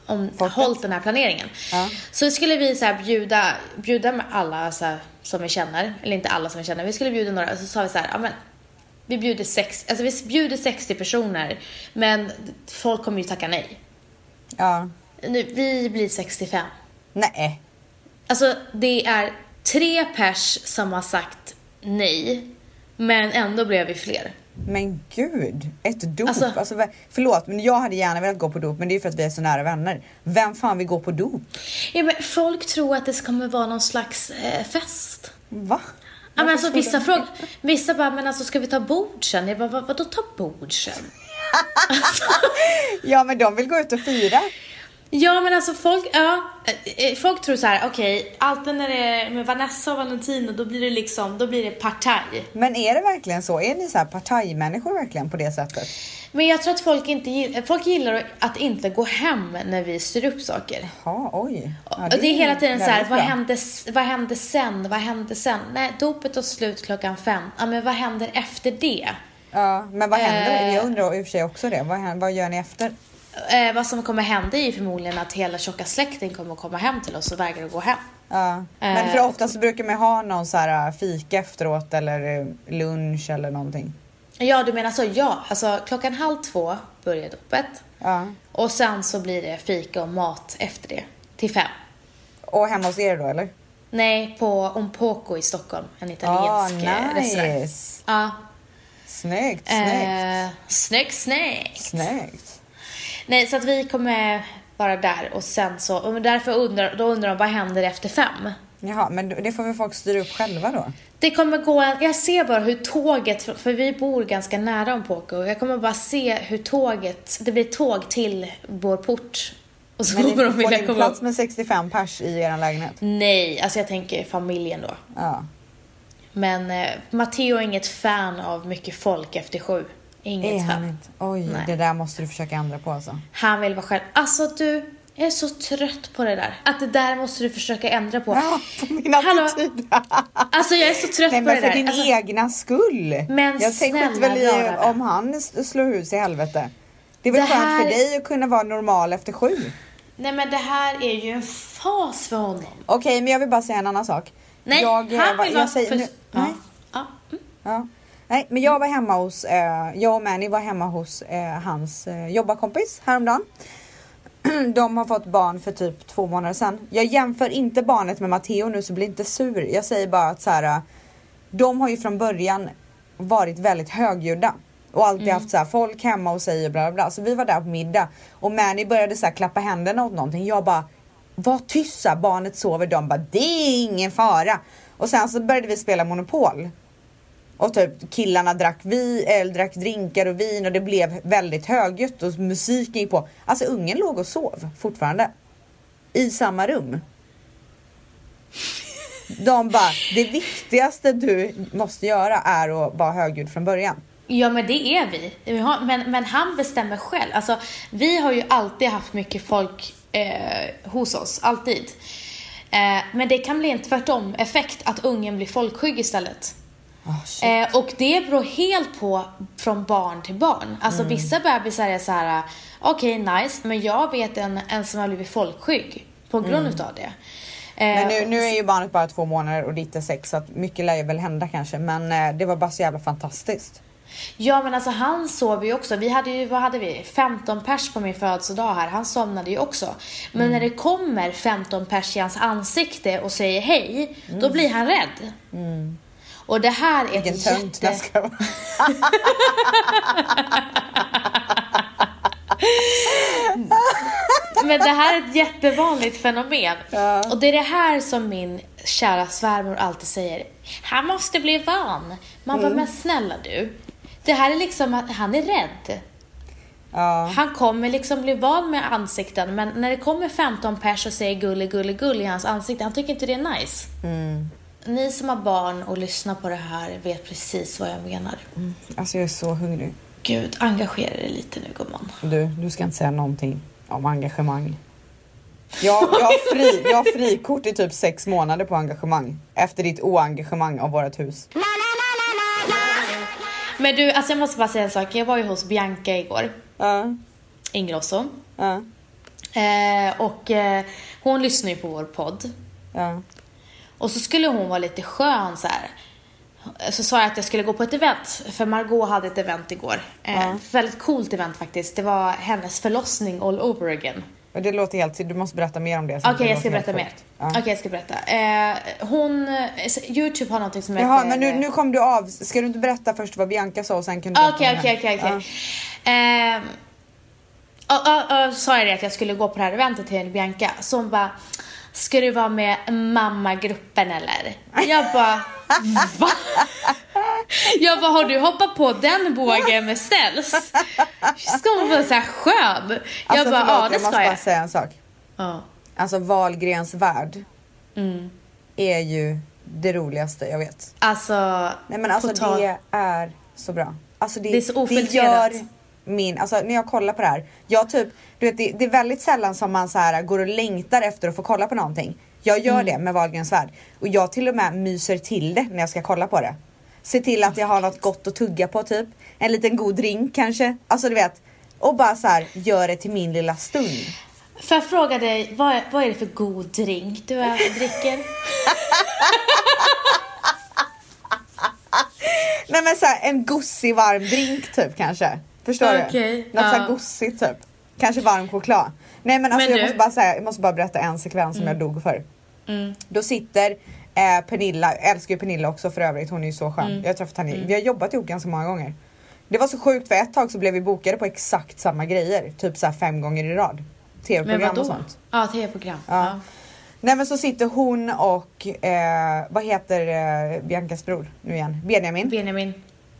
Speaker 2: om,
Speaker 1: Folket?
Speaker 2: hållit den här planeringen.
Speaker 1: Ja.
Speaker 2: Så skulle vi så här bjuda, bjuda med alla så här, som vi känner, eller inte alla som vi känner, vi skulle bjuda några och så sa vi så här, ja men Vi bjuder, sex, alltså vi bjuder 60 personer, men folk kommer ju tacka nej.
Speaker 1: Ja.
Speaker 2: Nu, vi blir 65.
Speaker 1: Nej.
Speaker 2: Alltså, det är tre pers som har sagt nej, men ändå blev vi fler.
Speaker 1: Men gud, ett dop.
Speaker 2: Alltså-
Speaker 1: Alltså, va- förlåt, men jag hade gärna velat gå på dop, men det är ju för att vi är så nära vänner. Vem fan vill gå på dop?
Speaker 2: Ja, men folk tror att det kommer vara någon slags eh, fest.
Speaker 1: Va?
Speaker 2: Ja, men
Speaker 1: Varför
Speaker 2: alltså,
Speaker 1: tror
Speaker 2: vissa,
Speaker 1: du-
Speaker 2: fråg, vissa bara, men alltså ska vi ta bord sen? Jag bara, vad, vadå ta bord sen?
Speaker 1: Ja, men de vill gå ut och fira.
Speaker 2: Ja men alltså folk, ja, eh, eh, folk tror så här: okej, alltid när det är eh, med Vanessa och Valentino då blir det liksom, då blir det partaj.
Speaker 1: Men är det verkligen så? Är ni så här partajmänniskor verkligen på det sättet?
Speaker 2: Men jag tror att folk inte gillar, folk gillar att inte gå hem när vi styr upp saker.
Speaker 1: Ja, oj. Ja,
Speaker 2: och det är hela tiden så här,
Speaker 1: väldigt
Speaker 2: vad
Speaker 1: bra.
Speaker 2: hände, s- vad hände sen? Vad hände sen? Nej, dopet tog slut klockan fem. Ja men vad händer efter det?
Speaker 1: Ja, men vad händer?
Speaker 2: Eh.
Speaker 1: Jag undrar i och för sig också det. Vad, händer, vad gör ni efter?
Speaker 2: Eh, vad som kommer hända är ju förmodligen att hela tjocka släkten kommer att komma hem till oss och vägrar att gå hem.
Speaker 1: Ja. Men för
Speaker 2: Eh.
Speaker 1: ofta så brukar man ju ha någon så här äh, fika efteråt eller äh, lunch eller någonting.
Speaker 2: Ja, du menar så? Ja, alltså klockan halv två börjar dopet.
Speaker 1: Ja.
Speaker 2: Och sen så blir det fika och mat efter det. Till fem.
Speaker 1: Och hemma hos er då eller?
Speaker 2: Nej, på Ompoko i Stockholm. En
Speaker 1: Ah,
Speaker 2: italiensk eh, restaurang.
Speaker 1: nice.
Speaker 2: Ja.
Speaker 1: Snyggt, snyggt,
Speaker 2: Eh, snyggt, snyggt.
Speaker 1: snyggt.
Speaker 2: Nej, så att vi kommer vara där och sen så, och därför undrar, då undrar de vad händer efter fem?
Speaker 1: Jaha, men det får väl folk styra upp själva då?
Speaker 2: Det kommer gå, en- jag ser bara hur tåget, för- för vi bor ganska nära Ompoko, jag kommer bara se hur tåget, det blir tåg till vår port. Och så
Speaker 1: Men ni
Speaker 2: kommer de
Speaker 1: får
Speaker 2: vilja
Speaker 1: ni
Speaker 2: komma
Speaker 1: plats
Speaker 2: upp.
Speaker 1: med 65 pers i er lägenhet?
Speaker 2: Nej, alltså jag tänker familjen då.
Speaker 1: Ja.
Speaker 2: Men eh, Matteo är inget fan av mycket folk efter sju. Inget
Speaker 1: Är han
Speaker 2: fan.
Speaker 1: inte? Oj,
Speaker 2: Nej.
Speaker 1: det där måste du försöka ändra på alltså.
Speaker 2: Han vill vara själv. Alltså du, jag är så trött på det där. Att det där måste du försöka ändra på.
Speaker 1: Ja, på min attityd.
Speaker 2: Alltså jag är så trött
Speaker 1: Nej
Speaker 2: på det
Speaker 1: men för
Speaker 2: där.
Speaker 1: din e-
Speaker 2: alltså,
Speaker 1: egna skull.
Speaker 2: Men
Speaker 1: jag tänker
Speaker 2: snälla
Speaker 1: väl i
Speaker 2: rara.
Speaker 1: om han s- slår hus i helvete. Det är väl
Speaker 2: Det här-
Speaker 1: skönt för dig att kunna vara normal efter sju. Okej
Speaker 2: Nej men det här är ju en fas för honom.
Speaker 1: men jag vill bara säga en annan sak.
Speaker 2: Nej,
Speaker 1: jag, eh,
Speaker 2: han
Speaker 1: va-
Speaker 2: vill
Speaker 1: jag
Speaker 2: vara
Speaker 1: säger,
Speaker 2: för...
Speaker 1: nu,
Speaker 2: ja.
Speaker 1: nej,
Speaker 2: Ja. mm.
Speaker 1: ja. nej men jag var hemma hos, eh, jag och Mani var hemma hos eh, hans eh, jobbarkompis häromdagen. De har fått barn för typ två månader sedan. Jag jämför inte barnet med Matteo nu så bli inte sur. Jag säger bara att så här, eh, de har ju från början varit väldigt högljudda och alltid haft så här, folk hemma och säger bla bla bla. Så vi var där på middag och Mani började så här, klappa händerna åt någonting. Jag bara var tyst så här, barnet sover. De bara det är ingen fara. Och sen så började vi spela Monopol. Och typ killarna drack, vi, eller drack drinkar och vin och det blev väldigt högljutt och musiken gick på. Alltså ungen låg och sov fortfarande. I samma rum. De bara, det viktigaste du måste göra är att vara högljudd från början.
Speaker 2: Ja men det är vi. vi har, men, men han bestämmer själv. Alltså, vi har ju alltid haft mycket folk eh, hos oss, alltid. Eh, men det kan bli en tvärtom effekt att ungen blir folkskygg istället.
Speaker 1: Ah, shit.
Speaker 2: Eh, och det beror helt på från barn till barn. Alltså
Speaker 1: Mm.
Speaker 2: vissa bebisar är så här: okej nice, men jag vet en, en som har blivit folkskygg på grund utav det. Eh,
Speaker 1: Mm. Men nu, nu är ju barnet bara två månader och ditt är sex så att mycket lär ju väl hända kanske men eh, det var bara så jävla fantastiskt.
Speaker 2: Ja men alltså han sov ju också. Vi hade ju, vad hade vi? 15 pers på min födelsedag här. Han somnade ju också. Men
Speaker 1: Mm.
Speaker 2: när det kommer 15 pers i hans ansikte och säger hej, då blir han rädd. Och det här är
Speaker 1: Mm. Vilken
Speaker 2: ett
Speaker 1: tönt
Speaker 2: jätte...
Speaker 1: jag ska vara.
Speaker 2: Men det här är ett jättevanligt fenomen. Och det är det här som min kära svärmor alltid säger. Han måste bli van. Man bara, men snälla du. Det här är liksom att han är rädd.
Speaker 1: Ja.
Speaker 2: Han kommer liksom bli van med ansikten men när det kommer 15 pers och säger gulle gulle gull i hans ansikte, han tycker inte det är nice. Ni som har barn och lyssnar på det här vet precis vad jag menar.
Speaker 1: Alltså jag är så hungrig.
Speaker 2: Gud, engagera dig lite nu gumman.
Speaker 1: Du, du ska inte säga någonting om engagemang. Jag, jag, har fri, jag har frikort i typ sex månader på engagemang. Efter ditt oengagemang av vårt hus.
Speaker 2: Men du, alltså jag måste bara säga en sak. Jag var ju hos Bianca igår,
Speaker 1: Ja,
Speaker 2: Ingrosso.
Speaker 1: ja,
Speaker 2: Eh, och eh, hon lyssnar ju på vår podd.
Speaker 1: ja.
Speaker 2: Och så skulle hon vara lite skön så här. så sa jag att jag skulle gå på ett event, för Margot hade ett event igår. Eh,
Speaker 1: Ja.
Speaker 2: Väldigt coolt event faktiskt. Det var hennes förlossning all over again.
Speaker 1: Och det låter helt... Du måste berätta mer om det.
Speaker 2: Okej, jag ska berätta mer.
Speaker 1: Ja.
Speaker 2: Okej, jag ska berätta. Eh, hon, eh, Youtube har någonting som
Speaker 1: Jaha, men nu, nu kom du av. Ska du inte berätta först vad Bianca sa och sen kan du berätta
Speaker 2: eh, Okej,
Speaker 1: om
Speaker 2: okej,
Speaker 1: det?
Speaker 2: okej.
Speaker 1: Ja.
Speaker 2: okej. Ehm, ja, ja, ja, Sa jag det att jag skulle gå på det här eventet till Bianca. Så hon bara, ska du vara med mammagruppen eller? Jag bara, va? Jag bara, har du hoppat på den bågen med ställs? Ska hon vara så här skön? Jag
Speaker 1: Alltså,
Speaker 2: bara,
Speaker 1: förlåt,
Speaker 2: ja det
Speaker 1: jag måste
Speaker 2: ska jag.
Speaker 1: bara säga en sak.
Speaker 2: Ja.
Speaker 1: Alltså Wahlgrens värld
Speaker 2: Mm.
Speaker 1: är ju det roligaste jag vet.
Speaker 2: Alltså,
Speaker 1: Nej men alltså
Speaker 2: på tal-
Speaker 1: det är så bra. Alltså det,
Speaker 2: Det är så ofiltrerat.
Speaker 1: gör min, alltså när jag kollar på det här. Jag typ, du vet det, det är väldigt sällan som man så här går och längtar efter att få kolla på någonting. Jag gör
Speaker 2: Mm.
Speaker 1: det med Wahlgrens värld. Och jag till och med myser till det när jag ska kolla på det. Se till att jag har något gott att tugga på typ. En liten god drink kanske. Alltså du vet. Och bara så här, gör det till min lilla stund.
Speaker 2: Får jag fråga dig, vad är, vad är det för god drink du är- dricker?
Speaker 1: Nej men såhär en gossig varm drink typ kanske. Förstår
Speaker 2: Okej,
Speaker 1: du? Något så såhär
Speaker 2: ja.
Speaker 1: gossigt typ. Kanske varm choklad. Nej men alltså
Speaker 2: Men
Speaker 1: jag,
Speaker 2: du-
Speaker 1: måste
Speaker 2: Mm.
Speaker 1: bara säga, jag måste bara berätta en sekvens som jag dog för. Då sitter eh, Pernilla, jag älskar ju Pernilla också för övrigt, hon är ju så skön.
Speaker 2: Mm.
Speaker 1: Jag har träffat henne, vi har jobbat ihop ganska många gånger. Det var så sjukt för ett tag så blev vi bokade på exakt samma grejer, typ såhär fem gånger i rad. TV-program och sånt.
Speaker 2: Ja, tv-program.
Speaker 1: Ja.
Speaker 2: Ja.
Speaker 1: Nej men så sitter hon och, eh, vad heter eh, Biancas bror nu igen? Benjamin.
Speaker 2: Benjamin.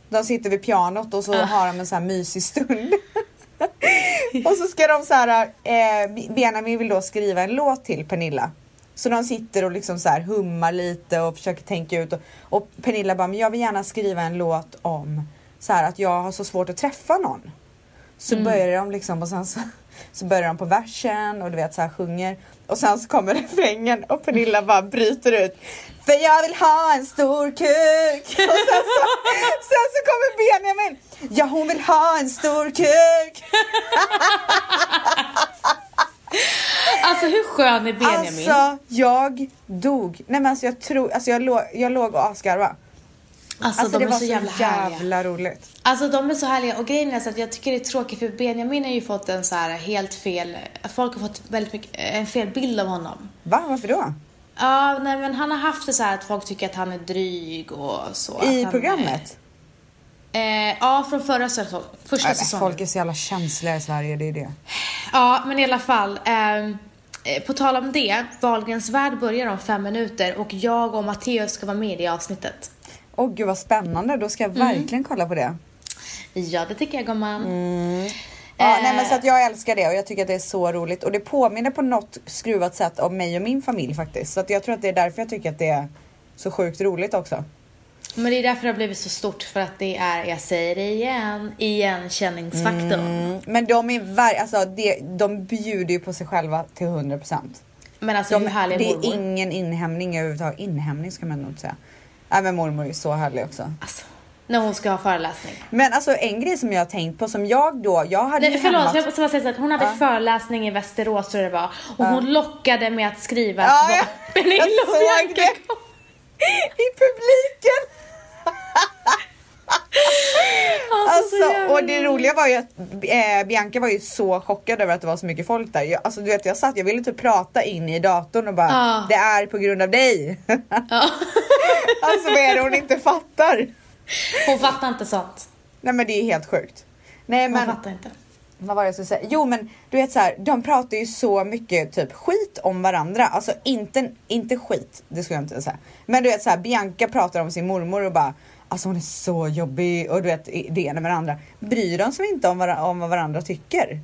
Speaker 1: De sitter vid pianot och så har de en sån här mysig stund. och så ska de så här, eh, Benjamin vill då skriva en låt till Pernilla. Så de sitter och liksom så här hummar lite och försöker tänka ut och, och Pernilla bara, men jag vill gärna skriva en låt om så här att jag har så svårt att träffa någon. Så
Speaker 2: Mm.
Speaker 1: börjar de liksom och sen så, så börjar de på versen och du vet så här sjunger och sen så kommer refrängen och Pernilla bara bryter ut. För jag vill ha en stor kuk. Och sen så, sen så kommer Benjamin. Ja hon vill ha en stor kuk.
Speaker 2: Alltså hur skön är Benjamin? Alltså,
Speaker 1: Alltså jag dog. Nej men alltså jag tror, alltså jag, låg, jag låg och asgarvade. Alltså
Speaker 2: de
Speaker 1: det
Speaker 2: är
Speaker 1: var
Speaker 2: så jävla, härliga.
Speaker 1: jävla roligt.
Speaker 2: Alltså de är så härliga och grejen är så att jag tycker det är tråkigt för Benjamin har ju fått en så här helt fel, folk har fått väldigt mycket, eh, en fel bild av honom.
Speaker 1: Va, varför då?
Speaker 2: Ja, nej men han har haft det så här att folk tycker att han är dryg och så. att
Speaker 1: I
Speaker 2: han,
Speaker 1: programmet?
Speaker 2: Eh, ja, från förra säsongen, första
Speaker 1: Nej, men
Speaker 2: säsongen.
Speaker 1: Alltså, folk är så jävla känsliga i Sverige, det är det.
Speaker 2: Ja, men i alla fall. ehm, Eh, på tal om det, Wahlgrens värld börjar om fem minuter och jag och Matteo ska vara med i det avsnittet.
Speaker 1: Åh gud vad spännande, då ska jag
Speaker 2: Mm.
Speaker 1: verkligen kolla på det.
Speaker 2: Ja, det tycker jag gumman.
Speaker 1: Mm. Ja,
Speaker 2: Eh.
Speaker 1: nej, men så att jag älskar det och jag tycker att det är så roligt och det påminner på något skruvat sätt om mig och min familj faktiskt. Så att jag tror att det är därför jag tycker att det är så sjukt roligt också.
Speaker 2: Men det är därför det har blivit så stort, för att det är, jag säger det igen, igenkänningsfaktorn.
Speaker 1: Mm. Men de är ver- alltså, det, de bjuder ju på sig själva till 100 procent.
Speaker 2: Men alltså
Speaker 1: De,
Speaker 2: hur härlig är
Speaker 1: det är
Speaker 2: mormor?
Speaker 1: ingen inhämning överhuvudtaget. Inhämning ska man nog inte säga. Nej men mormor är så härlig också.
Speaker 2: Alltså, när hon ska ha föreläsning.
Speaker 1: Men alltså en grej som jag har tänkt på som jag då, jag hade ju
Speaker 2: Nej, förlåt,
Speaker 1: hämmat-
Speaker 2: jag måste bara säga så att hon hade föreläsning i Västerås tror jag det var. Och hon lockade med att skriva
Speaker 1: Ja,
Speaker 2: att
Speaker 1: jag-
Speaker 2: Pernilla
Speaker 1: jag
Speaker 2: och
Speaker 1: såg
Speaker 2: Bianca
Speaker 1: det.
Speaker 2: kom.
Speaker 1: i publiken.
Speaker 2: Alltså, så
Speaker 1: Alltså,
Speaker 2: jävla
Speaker 1: och det
Speaker 2: roligt.
Speaker 1: roliga var ju att eh, Bianca var ju så chockad över att det var så mycket folk där. Jag, alltså du vet jag satt, jag ville typ prata in i datorn och bara
Speaker 2: Ja.
Speaker 1: det är på grund av dig.
Speaker 2: Ja.
Speaker 1: alltså vad är det hon inte fattar?
Speaker 2: Hon fattar inte sånt.
Speaker 1: Nej men det är helt sjukt. Nej
Speaker 2: Hon
Speaker 1: men
Speaker 2: fattar inte.
Speaker 1: vad var det jag skulle säga? Jo men du vet så här, de pratar ju så mycket typ skit om varandra. Alltså inte, inte skit, det skulle jag inte säga. Men du vet så här, Bianca pratar om sin mormor och bara Alltså hon är så jobbig och du vet det ena med det andra. Bryr de sig inte om, var- om vad varandra tycker?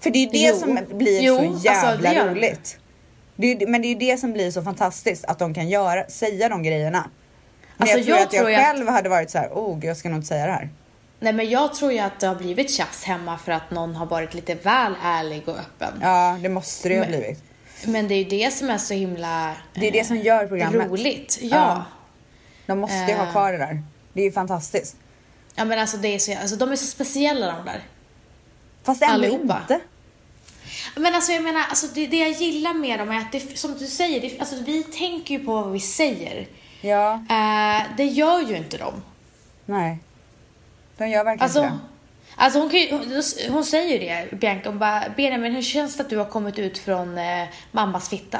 Speaker 1: För det är ju det
Speaker 2: Jo.
Speaker 1: som blir
Speaker 2: Jo,
Speaker 1: så
Speaker 2: alltså,
Speaker 1: jävla
Speaker 2: det gör de.
Speaker 1: roligt. Det är, ju- men det är ju det som blir så fantastiskt att de kan göra, säga de grejerna. Men
Speaker 2: Alltså,
Speaker 1: jag tror
Speaker 2: jag
Speaker 1: att jag
Speaker 2: tror ju att-
Speaker 1: själv hade varit så här, oh gud, jag ska nog inte säga det här.
Speaker 2: Nej men jag tror ju att det har blivit tjafs hemma för att någon har varit lite väl ärlig och öppen.
Speaker 1: Ja det måste det ju ha blivit.
Speaker 2: Men det är ju det som är så himla eh,
Speaker 1: Det är det som gör programmet.
Speaker 2: roligt.
Speaker 1: Ja.
Speaker 2: ja.
Speaker 1: De måste ju ha
Speaker 2: Eh.
Speaker 1: kvar det där. Det är ju fantastiskt.
Speaker 2: Ja men alltså, det är så, alltså de är så speciella de där.
Speaker 1: Fast ändå
Speaker 2: Allihopa.
Speaker 1: inte.
Speaker 2: Men alltså jag menar, alltså det, det jag gillar med dem är att det, som du säger, det, alltså vi tänker ju på vad vi säger.
Speaker 1: Ja,
Speaker 2: Eh, det gör ju inte de.
Speaker 1: nej. De gör verkligen inte
Speaker 2: Alltså,
Speaker 1: det.
Speaker 2: alltså hon, kan ju, hon, hon säger ju det, Bianca. Hon bara, Benjamin hur känns det att du har kommit ut från eh, mammas fitta?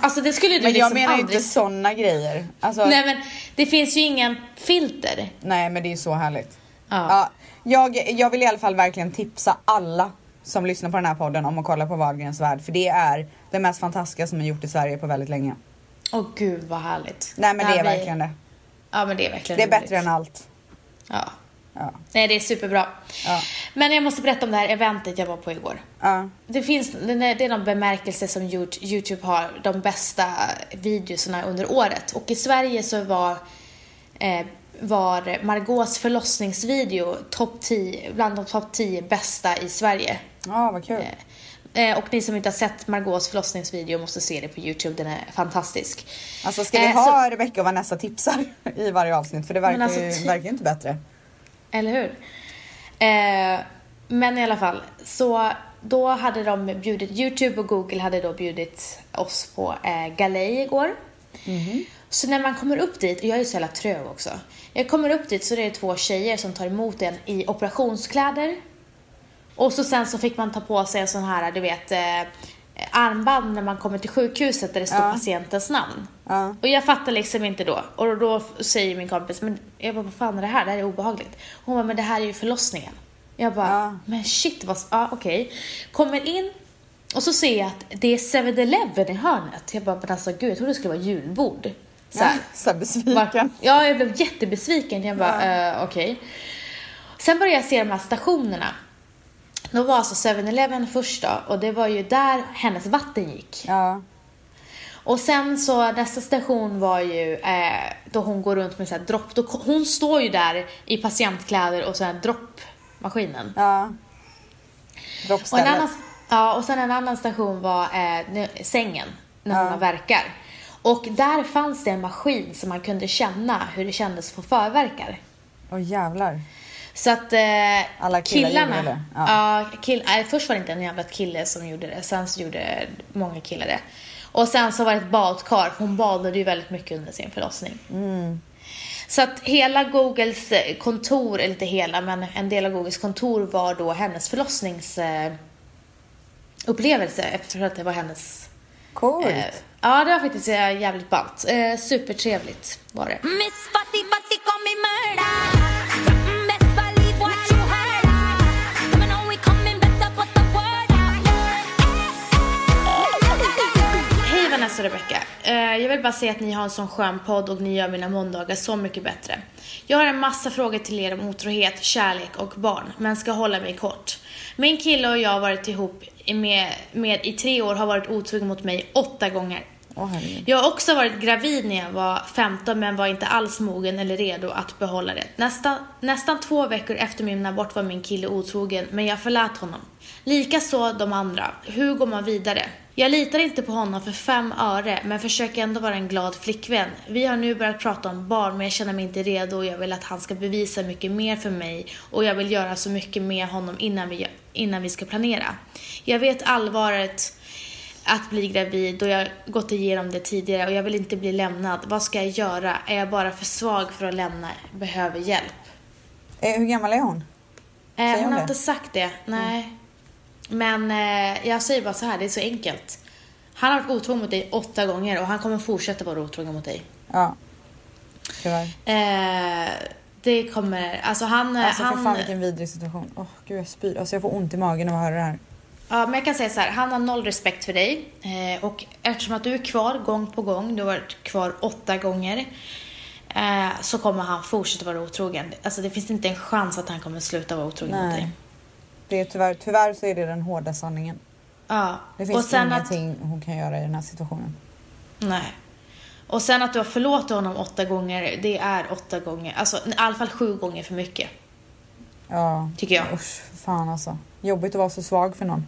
Speaker 2: Alltså det skulle du
Speaker 1: Mm. Men jag
Speaker 2: liksom
Speaker 1: menar ju
Speaker 2: aldrig...
Speaker 1: inte sådana grejer. Alltså, nej.
Speaker 2: Nej men det finns ju ingen filter.
Speaker 1: men det är ju så härligt.
Speaker 2: Ja.
Speaker 1: Ja, jag, jag vill i alla fall verkligen tipsa alla som lyssnar på den här podden om att kolla på Wahlgrens värld för det är det mest fantastiska som är gjort i Sverige på väldigt länge.
Speaker 2: Åh gud vad härligt.
Speaker 1: Nej men det
Speaker 2: här
Speaker 1: är
Speaker 2: blir-
Speaker 1: verkligen det.
Speaker 2: Ja men det är verkligen
Speaker 1: Det är
Speaker 2: roligt.
Speaker 1: bättre än allt.
Speaker 2: Ja.
Speaker 1: Ja.
Speaker 2: Nej det är superbra.
Speaker 1: Ja.
Speaker 2: Men jag måste berätta om det här eventet jag var på igår.
Speaker 1: Ja.
Speaker 2: Det, finns, det är någon bemärkelse som Yout- Youtube har, de bästa videorna under året. Och i Sverige så var, eh, var Margaux förlossningsvideo topp 10, bland de topp 10 bästa i Sverige.
Speaker 1: Ja, vad kul.
Speaker 2: Eh, och ni som inte har sett Margaux förlossningsvideo måste se det på Youtube, den är fantastisk.
Speaker 1: Alltså ska vi
Speaker 2: eh,
Speaker 1: ha Rebecca och Vanessa tipsar i varje avsnitt? För det verkar,
Speaker 2: Men alltså,
Speaker 1: ju,
Speaker 2: ty-
Speaker 1: verkar ju inte bättre.
Speaker 2: Eller hur? Eh, men i alla fall, så då hade de bjudit, Youtube och Google hade då bjudit oss på eh, galej igår. Så när man kommer upp dit, och jag är ju så jävla trög också. Jag kommer upp dit så är det två tjejer som tar emot en i operationskläder. Och så sen så fick man ta på sig en sån här, du vet, eh, armband när man kommer till sjukhuset där det står
Speaker 1: Ja.
Speaker 2: patientens namn.
Speaker 1: Ja.
Speaker 2: Och jag fattar liksom inte då. Och då säger min kompis, men jag bara, vad fan är det här? Det här är obehagligt. Hon bara, men det här är ju förlossningen. Jag bara,
Speaker 1: Ja.
Speaker 2: men shit vad, s- ja okej. Kommer in och så ser jag att det är 7-Eleven i hörnet. Jag bara, men alltså gud, jag trodde det skulle vara julbord. Så här.
Speaker 1: Så här besviken.
Speaker 2: Var- Ja, jag blev jättebesviken. Jag bara, eh, okej. Sen började jag se de här stationerna. Då var alltså 7-Eleven först då och det var ju där hennes vatten gick.
Speaker 1: Ja.
Speaker 2: Och sen så nästa station var ju eh, då hon går runt med så här dropp. Då, ko- hon står ju där i patientkläder och så här droppmaskinen.
Speaker 1: Ja.
Speaker 2: Och, en
Speaker 1: Droppstället.
Speaker 2: annan, ja, och sen en annan station var eh, nu- sängen, när hon verkar. Och där fanns det en maskin som man kunde känna hur det kändes att få förverkar.
Speaker 1: Åh jävlar.
Speaker 2: Så att eh,
Speaker 1: Alla killar
Speaker 2: killarna...
Speaker 1: gjorde det,
Speaker 2: Ja.
Speaker 1: ja.
Speaker 2: kill, nej, först var det inte en jävla kille som gjorde det, sen så gjorde många killar det. Och sen så var det ett badkar, för hon badade ju väldigt mycket under sin förlossning.
Speaker 1: Mm.
Speaker 2: Så att hela Googles eh, kontor, eller inte hela, men en del av Googles kontor var då hennes förlossningsupplevelse eh, upplevelse, eftersom att det var hennes...
Speaker 1: Coolt.
Speaker 2: Eh, ja, det var faktiskt eh, jävligt ballt. Eh, supertrevligt var det.
Speaker 3: Miss Fatty Fatty call me murder. Mm, Best believe what you heard. Come and know we coming better, put the word out.
Speaker 2: Hej Vanessa och Rebecca. Eh, Jag vill bara säga att ni har en sån skön podd och ni gör mina måndagar så mycket bättre. Jag har en massa frågor till er om otrohet, kärlek och barn, men ska hålla mig kort. Min kille och jag har varit ihop i- med, med i tre år har varit otrogen mot mig åtta gånger.
Speaker 1: Åh, herregud.
Speaker 2: Jag har också varit gravid när jag var 15 men var inte alls mogen eller redo att behålla det. Nästan, nästan två veckor efter min abort var min kille otrogen men jag förlät honom. Likaså de andra. Hur går man vidare? Jag litar inte på honom för fem öre men försöker ändå vara en glad flickvän. Vi har nu börjat prata om barn men jag känner mig inte redo och jag vill att han ska bevisa mycket mer för mig och jag vill göra så mycket med honom innan vi, innan vi ska planera. Jag vet allvaret att bli gravid och jag har gått igenom det tidigare och jag vill inte bli lämnad. Vad ska jag göra? Är jag bara för svag för att lämna? Behöver hjälp.
Speaker 1: Eh, hur gammal är hon?
Speaker 2: Eh,
Speaker 1: Säger
Speaker 2: hon
Speaker 1: hon
Speaker 2: har
Speaker 1: det? Mm.
Speaker 2: inte sagt det, nej. Men eh, jag säger bara så här, det är så enkelt. Han har varit otrogen mot dig åtta gånger och han kommer fortsätta vara otrogen mot dig.
Speaker 1: Ja. Tyvärr.
Speaker 2: Eh, det kommer, alltså han...
Speaker 1: Alltså för
Speaker 2: han
Speaker 1: fan vilken vidrig situation. Åh gud jag spyr. Alltså jag får ont i magen av att höra det här.
Speaker 2: Ja, men jag kan säga så här, han har noll respekt för dig. Eh, och eftersom att du är kvar gång på gång, du har varit kvar åtta gånger, eh, så kommer han fortsätta vara otrogen. Alltså det finns inte en chans att han kommer sluta vara otrogen mot
Speaker 1: Nej.
Speaker 2: dig.
Speaker 1: Det är tyvärr, tyvärr så är det den hårda sanningen.
Speaker 2: Ja.
Speaker 1: Det finns
Speaker 2: och sen att,
Speaker 1: ingenting hon kan göra i den här situationen.
Speaker 2: Nej. Och sen att du har förlåtit honom åtta gånger, det är åtta gånger, alltså i alla fall sju gånger för mycket.
Speaker 1: Ja.
Speaker 2: Tycker jag.
Speaker 1: Usch, för fan alltså. Jobbigt att vara så svag för någon.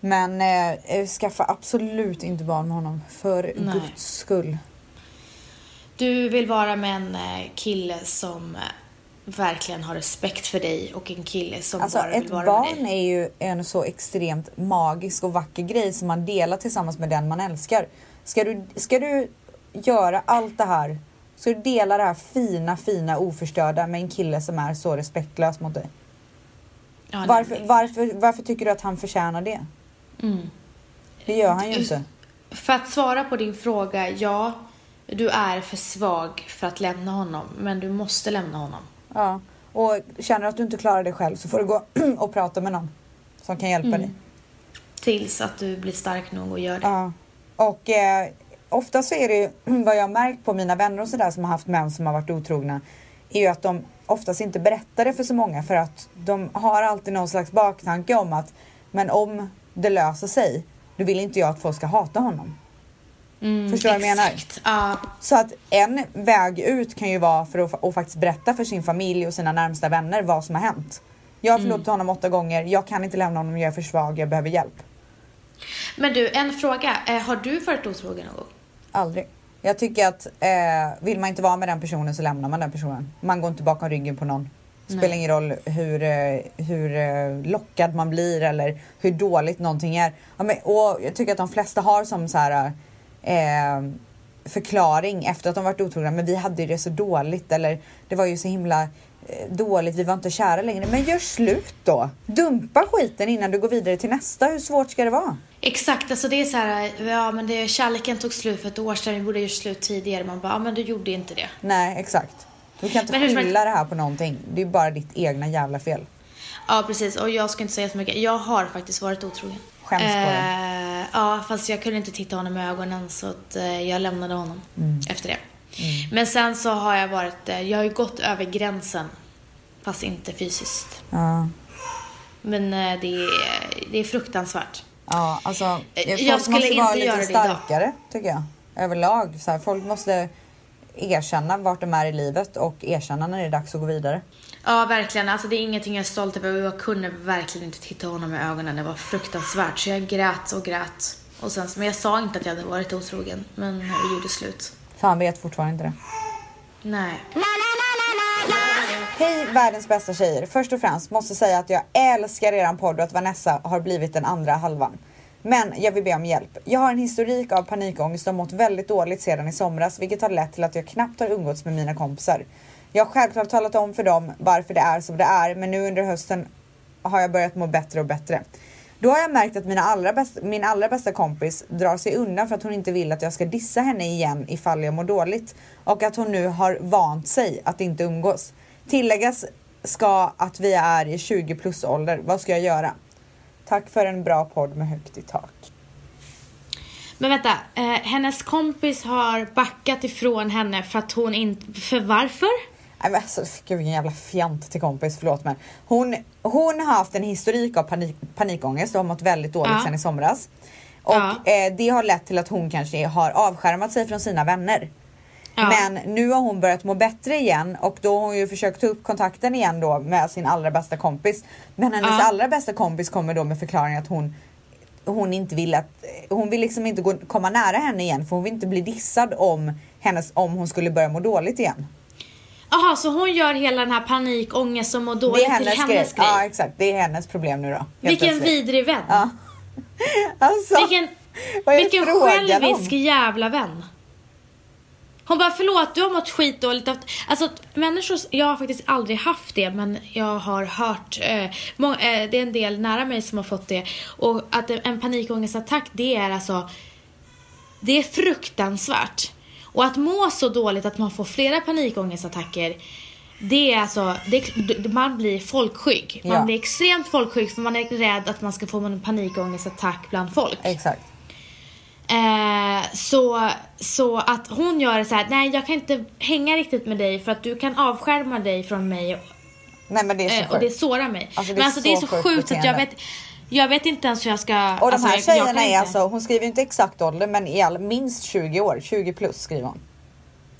Speaker 1: Men eh, eh, skaffa absolut inte barn med honom. För
Speaker 2: Nej.
Speaker 1: guds skull.
Speaker 2: Du vill vara med en eh, kille som eh, verkligen har respekt för dig och en kille som
Speaker 1: Alltså
Speaker 2: bara vill
Speaker 1: ett
Speaker 2: vara med
Speaker 1: barn
Speaker 2: dig.
Speaker 1: är ju en så extremt magisk och vacker grej som man delar tillsammans med den man älskar. Ska du, ska du göra allt det här? Ska du dela det här fina, fina oförstörda med en kille som är så respektlös mot dig?
Speaker 2: Ja, nej,
Speaker 1: Varför,
Speaker 2: nej.
Speaker 1: varför, varför tycker du att han förtjänar det?
Speaker 2: Mm.
Speaker 1: Det gör han ju inte.
Speaker 2: För att svara på din fråga, ja, du är för svag för att lämna honom, men du måste lämna honom.
Speaker 1: Ja. Och känner du att du inte klarar det själv så får du gå och prata med någon som kan
Speaker 2: Mm.
Speaker 1: hjälpa dig.
Speaker 2: Tills att du blir stark nog och gör det.
Speaker 1: Ja. Och eh, ofta så är det ju vad jag har märkt på mina vänner och sådär som har haft män som har varit otrogna är ju att de oftast inte berättar det för så många för att de har alltid någon slags baktanke om att men om det löser sig då vill inte jag att folk ska hata honom.
Speaker 2: Mm,
Speaker 1: Förstår vad jag menar?
Speaker 2: Exakt. Ja,
Speaker 1: Så att en väg ut kan ju vara för att fa- att faktiskt berätta för sin familj och sina närmsta vänner vad som har hänt. Jag
Speaker 2: Mm.
Speaker 1: har förlåt honom åtta gånger, jag kan inte lämna honom, jag är för svag, jag behöver hjälp.
Speaker 2: Men du, en fråga. Eh, Har du varit otrogen någon gång?
Speaker 1: Aldrig. Jag tycker att eh, vill man inte vara med den personen så lämnar man den personen. Man går inte bakom ryggen på någon. Spelar
Speaker 2: Nej.
Speaker 1: ingen roll hur, eh, hur eh, lockad man blir eller hur dåligt någonting är. Ja, men, och jag tycker att de flesta har som så här eh, förklaring efter att de varit otrogna. Men vi hade ju det så dåligt eller det var ju så himla eh, dåligt. Vi var inte kära längre. Men gör slut då. Dumpa skiten innan du går vidare till nästa. Hur svårt ska det vara?
Speaker 2: Exakt, alltså det är så här, ja men det, kärleken tog slut för ett år sedan, vi borde ha gjort slut tidigare. Man bara, ja men du gjorde inte det.
Speaker 1: Nej, exakt. Du kan inte
Speaker 2: Men hur som
Speaker 1: skylla det här på någonting. Det är bara ditt egna jävla fel.
Speaker 2: Ja precis, och jag ska inte säga så mycket. Jag har faktiskt varit otrogen.
Speaker 1: Skäms på dig.
Speaker 2: Eh, Ja, fast jag kunde inte titta honom i ögonen så att eh, jag lämnade honom
Speaker 1: Mm.
Speaker 2: efter det. Men sen så har jag varit, eh, jag har ju gått över gränsen. Fast inte fysiskt.
Speaker 1: Ja,
Speaker 2: Men eh, det är, det är fruktansvärt.
Speaker 1: ja alltså.
Speaker 2: Eh,
Speaker 1: folk
Speaker 2: jag skulle
Speaker 1: måste vara
Speaker 2: inte
Speaker 1: lite
Speaker 2: göra det idag.
Speaker 1: starkare tycker jag. Överlag. Så här, folk måste erkänna vart de är i livet och erkänna när det är dags att gå vidare.
Speaker 2: Ja, verkligen. Alltså, det är ingenting jag är stolt över. Jag kunde verkligen inte titta honom i ögonen. Det var fruktansvärt. Så jag grät och grät. Och sen, men jag sa inte att jag hade varit otrogen. Men vi gjorde slut.
Speaker 1: För han vet fortfarande inte det.
Speaker 2: Nej.
Speaker 1: Hej världens bästa tjejer! Först och främst måste säga att jag älskar eran podd och att Vanessa har blivit den andra halvan. Men jag vill be om hjälp. Jag har en historik av panikångest och mått väldigt dåligt sedan i somras vilket har lett till att jag knappt har umgåtts med mina kompisar. Jag har självklart talat om för dem varför det är som det är men nu under hösten har jag börjat må bättre och bättre. Då har jag märkt att mina allra bäst, min allra bästa kompis drar sig undan för att hon inte vill att jag ska dissa henne igen ifall jag mår dåligt och att hon nu har vant sig att inte umgås. Tilläggas ska att vi är i 20 plus ålder. Vad ska jag göra? Tack för en bra podd med högt i tak.
Speaker 2: Men vänta. Eh, hennes kompis har backat ifrån henne för att hon inte... För varför?
Speaker 1: Nej men alltså gud vilken jävla fjant till kompis, förlåt men. Hon, hon har haft en historik av panik, panikångest och har mått väldigt dåligt
Speaker 2: Ja.
Speaker 1: sedan i somras. Och
Speaker 2: Ja.
Speaker 1: eh, det har lett till att hon kanske har avskärmat sig från sina vänner.
Speaker 2: Ja.
Speaker 1: Men nu har hon börjat må bättre igen och då har hon ju försökt ta upp kontakten igen då med sin allra bästa kompis. Men hennes
Speaker 2: Ja.
Speaker 1: allra bästa kompis kommer då med förklaringen att hon hon inte vill att, hon vill liksom inte gå, komma nära henne igen för hon vill inte bli dissad om hennes, om hon skulle börja må dåligt igen.
Speaker 2: Jaha, så hon gör hela den här panikångest som mår
Speaker 1: Det
Speaker 2: dåligt
Speaker 1: är hennes,
Speaker 2: till hennes grej?
Speaker 1: Ja exakt, det är hennes problem nu då. helt
Speaker 2: Vilken
Speaker 1: plötsligt.
Speaker 2: vidrig vän.
Speaker 1: Ja. Alltså,
Speaker 2: Vilken,
Speaker 1: vad är
Speaker 2: vilken
Speaker 1: frågan
Speaker 2: självisk
Speaker 1: om?
Speaker 2: jävla vän. Hon bara, förlåt du har mått skitdåligt. haft-" Alltså människor, jag har faktiskt aldrig haft det men jag har hört, eh, må, eh, det är en del nära mig som har fått det. Och att en- en panikångestattack det är alltså, det är fruktansvärt. Och att må så dåligt att man får flera panikångestattacker det är alltså, det, man blir folkskygg. Man
Speaker 1: Ja.
Speaker 2: blir extremt folkskygg för man är rädd att man ska få en panikångestattack bland folk.
Speaker 1: Exakt.
Speaker 2: Eh, så, så att hon gör så här, nej jag kan inte hänga riktigt med dig för att du kan avskärma dig från mig
Speaker 1: Nej men det är så
Speaker 2: eh, och det
Speaker 1: sjukt.
Speaker 2: sårar mig.
Speaker 1: Alltså, det är
Speaker 2: Men alltså det är
Speaker 1: så
Speaker 2: så
Speaker 1: sjukt
Speaker 2: sjukt att jag
Speaker 1: beteende.
Speaker 2: vet, jag vet inte ens hur jag ska...
Speaker 1: Och de
Speaker 2: alltså,
Speaker 1: här
Speaker 2: jag- jag kan
Speaker 1: tjejerna är
Speaker 2: inte.
Speaker 1: alltså, hon skriver ju inte exakt ålder men i all, minst 20 år, 20 plus skriver hon.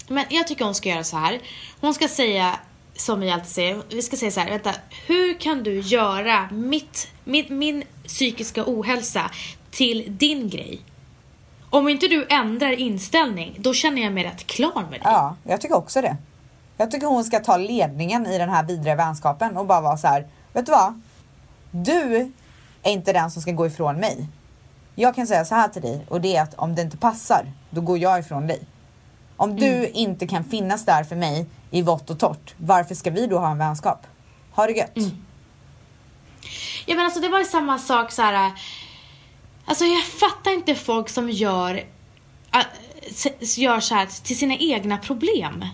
Speaker 2: Men jag tycker hon ska göra så här. Hon ska säga, som vi alltid säger, vi ska säga så här, vänta. Hur kan du göra mitt, mitt, min psykiska ohälsa till din grej? Om inte du ändrar inställning, då känner jag mig rätt klar med dig.
Speaker 1: Ja, jag tycker också det. Jag tycker hon ska ta ledningen i den här vidriga vänskapen och bara vara så här. vet du vad? Du är inte den som ska gå ifrån mig. Jag kan säga så här till dig och det är att om det inte passar, då går jag ifrån dig. Om du inte kan finnas där för mig i vått och torrt, varför ska vi då ha en vänskap? Ha det gött.
Speaker 2: Ja men alltså det var ju samma sak så här. äh, Alltså jag fattar inte folk som gör, äh, s- s- gör så här till sina egna problem.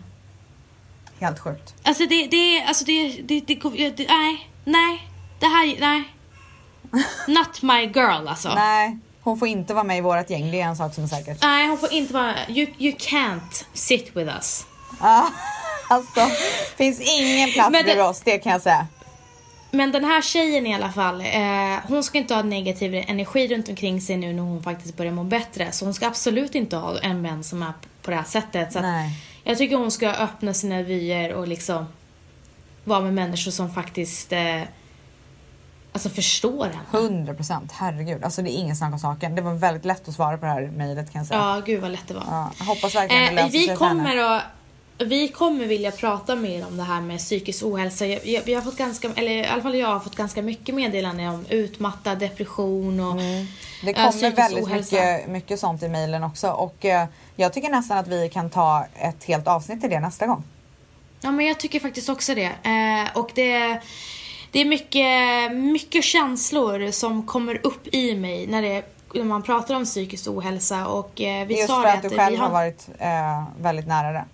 Speaker 1: Helt sjukt.
Speaker 2: Alltså det, det, är- alltså det, det, det, går- jag- det, nej, nej, det här, nej. Not my girl alltså. Nej,
Speaker 1: Nej, hon får inte vara med i vårt gäng, det är en sak som är säker.
Speaker 2: hon får inte vara, you, you can't sit with us.
Speaker 1: Ah, alltså, finns ingen plats
Speaker 2: Men det-
Speaker 1: för oss, det kan jag säga.
Speaker 2: Men den här tjejen i alla fall, eh, hon ska inte ha negativ energi runt omkring sig nu när hon faktiskt börjar må bättre. Så hon ska absolut inte ha en vän som är på det här sättet. Så att
Speaker 1: Nej.
Speaker 2: jag tycker hon ska öppna sina vyer och liksom vara med människor som faktiskt eh, alltså förstår henne.
Speaker 1: 100 procent, herregud. Alltså det är ingen snack om saken. Det var väldigt lätt att svara på det här mejlet kan jag säga.
Speaker 2: Ja, gud vad lätt det var.
Speaker 1: Ja, jag hoppas verkligen det
Speaker 2: Eh,
Speaker 1: löser
Speaker 2: vi,
Speaker 1: sig för henne.
Speaker 2: kommer att, vi kommer vilja prata mer om det här med psykisk ohälsa. Jag, jag, vi har fått ganska, eller i alla fall jag har fått ganska mycket meddelanden om utmattad depression och
Speaker 1: Det
Speaker 2: eh,
Speaker 1: kommer
Speaker 2: psykisk
Speaker 1: väldigt
Speaker 2: ohälsa.
Speaker 1: mycket, mycket sånt i mejlen också och eh, jag tycker nästan att vi kan ta ett helt avsnitt till det nästa gång.
Speaker 2: Ja men jag tycker faktiskt också det. Eh, och det, det är mycket, mycket känslor som kommer upp i mig när, det, när man pratar om psykisk ohälsa och eh, vi
Speaker 1: Just
Speaker 2: sa
Speaker 1: för
Speaker 2: det
Speaker 1: att du
Speaker 2: vi
Speaker 1: själv har varit eh, väldigt nära det.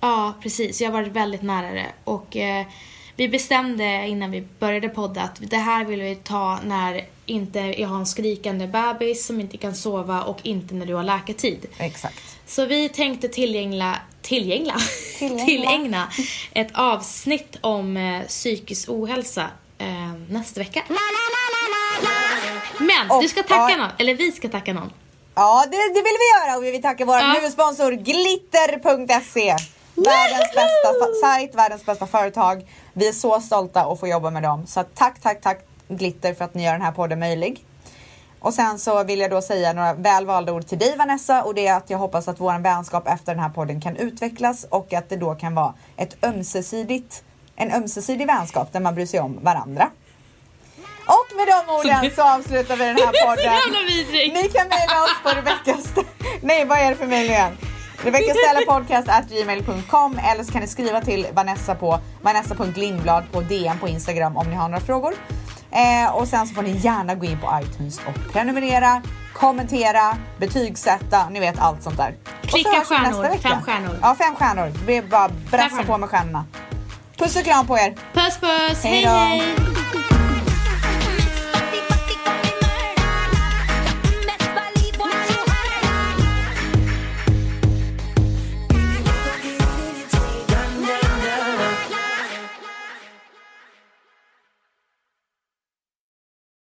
Speaker 2: Ja, precis. Jag har varit väldigt nära det. Och eh, vi bestämde innan vi började podda att det här vill vi ta när inte jag har en skrikande bebis som inte kan sova och inte när du har läkartid.
Speaker 1: Exakt.
Speaker 2: Så vi tänkte tillgängla, tillgängla,
Speaker 1: Tillägna.
Speaker 2: tillägna ett avsnitt om eh, psykisk ohälsa eh, nästa vecka. Men
Speaker 1: Och-
Speaker 2: du ska tacka
Speaker 1: ja.
Speaker 2: någon, eller vi ska tacka någon.
Speaker 1: Ja, det, det vill vi göra och vi vill tacka vår
Speaker 2: Ja.
Speaker 1: huvudsponsor glitter.se. Världens bästa fa- sajt, världens bästa företag. Vi är så stolta att få jobba med dem. Så tack, tack, tack Glitter för att ni gör den här podden möjlig. Och sen så vill jag då säga några välvalda ord till dig Vanessa och det är att jag hoppas att vår vänskap efter den här podden kan utvecklas och att det då kan vara ett ömsesidigt, en ömsesidig vänskap där man bryr sig om varandra. Och med de orden så avslutar vi den här
Speaker 2: Så
Speaker 1: podden.
Speaker 2: jävla vidrig!
Speaker 1: Ni kan mejla oss på Rebeckas... Nej, vad är det för mejl igen? Rebeckastellapodcast.gmail.com eller så kan ni skriva till Vanessa på vanessa.lindblad på DM på Instagram om ni har några frågor. Eh, och sen så får ni gärna gå in på iTunes och prenumerera, kommentera, betygsätta, ni vet allt sånt där. Och så
Speaker 2: Klicka
Speaker 1: hörs vi nästa
Speaker 2: stjärnor,
Speaker 1: vecka.
Speaker 2: fem stjärnor.
Speaker 1: Ja, fem stjärnor. Vi bara brassa
Speaker 2: stjärnor.
Speaker 1: på med stjärnorna. Puss och kram på er.
Speaker 2: Puss puss,
Speaker 1: Hej
Speaker 2: hej
Speaker 1: då.
Speaker 2: hej!